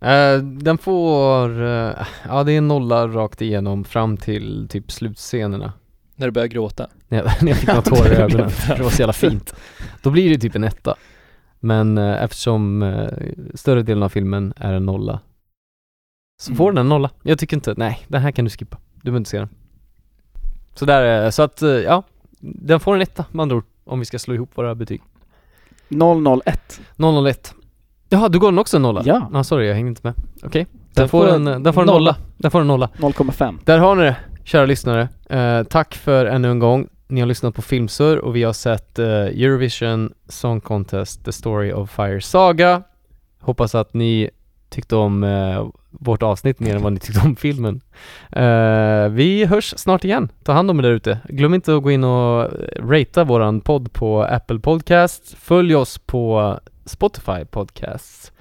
[SPEAKER 1] Eh, den får, eh, ja det är en nolla rakt igenom fram till typ slutscenerna.
[SPEAKER 5] När du börjar gråta.
[SPEAKER 1] När jag, <laughs> när jag fick några
[SPEAKER 5] <laughs>
[SPEAKER 1] tårar i ögonen, för det var så jävla fint. Då blir det typ en etta. Men eh, eftersom eh, större delen av filmen är en nolla så
[SPEAKER 5] Mm.
[SPEAKER 1] får den en nolla. Jag tycker inte, nej den här kan du skippa. Du behöver inte se den. Så där är det. så att eh, ja, den får en etta med andra ord. Om vi ska slå ihop våra betyg.
[SPEAKER 6] 001.
[SPEAKER 1] 001. Jaha, du går den också en nolla?
[SPEAKER 6] Ja.
[SPEAKER 1] Ah, sorry, jag hängde inte med. Okej. Den, får en, den får en nolla. Den får en nolla.
[SPEAKER 6] 0,5.
[SPEAKER 1] Där har ni det, kära lyssnare. Eh, tack för ännu en gång. Ni har lyssnat på Filmsur och vi har sett eh, Eurovision Song Contest The Story of Fire Saga. Hoppas att ni tyckte om eh, vårt avsnitt mer än vad ni tyckte om filmen. Eh, vi hörs snart igen. Ta hand om er där ute. Glöm inte att gå in och eh, ratea våran podd på Apple Podcasts. Följ oss på Spotify Podcasts.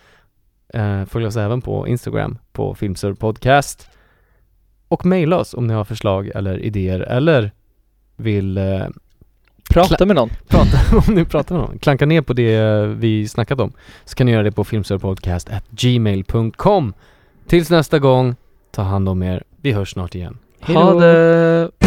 [SPEAKER 1] Eh, följ oss även på Instagram på Filmsur Podcast och mejla oss om ni har förslag eller idéer eller vill eh, <laughs>
[SPEAKER 5] Prata med någon.
[SPEAKER 1] prata om ni pratar med någon. Klanka ner på det eh, vi snackat om så kan ni göra det på filmsörpodcast.gmail.com Tills nästa gång, ta hand om er. Vi hörs snart igen.
[SPEAKER 5] Ha det!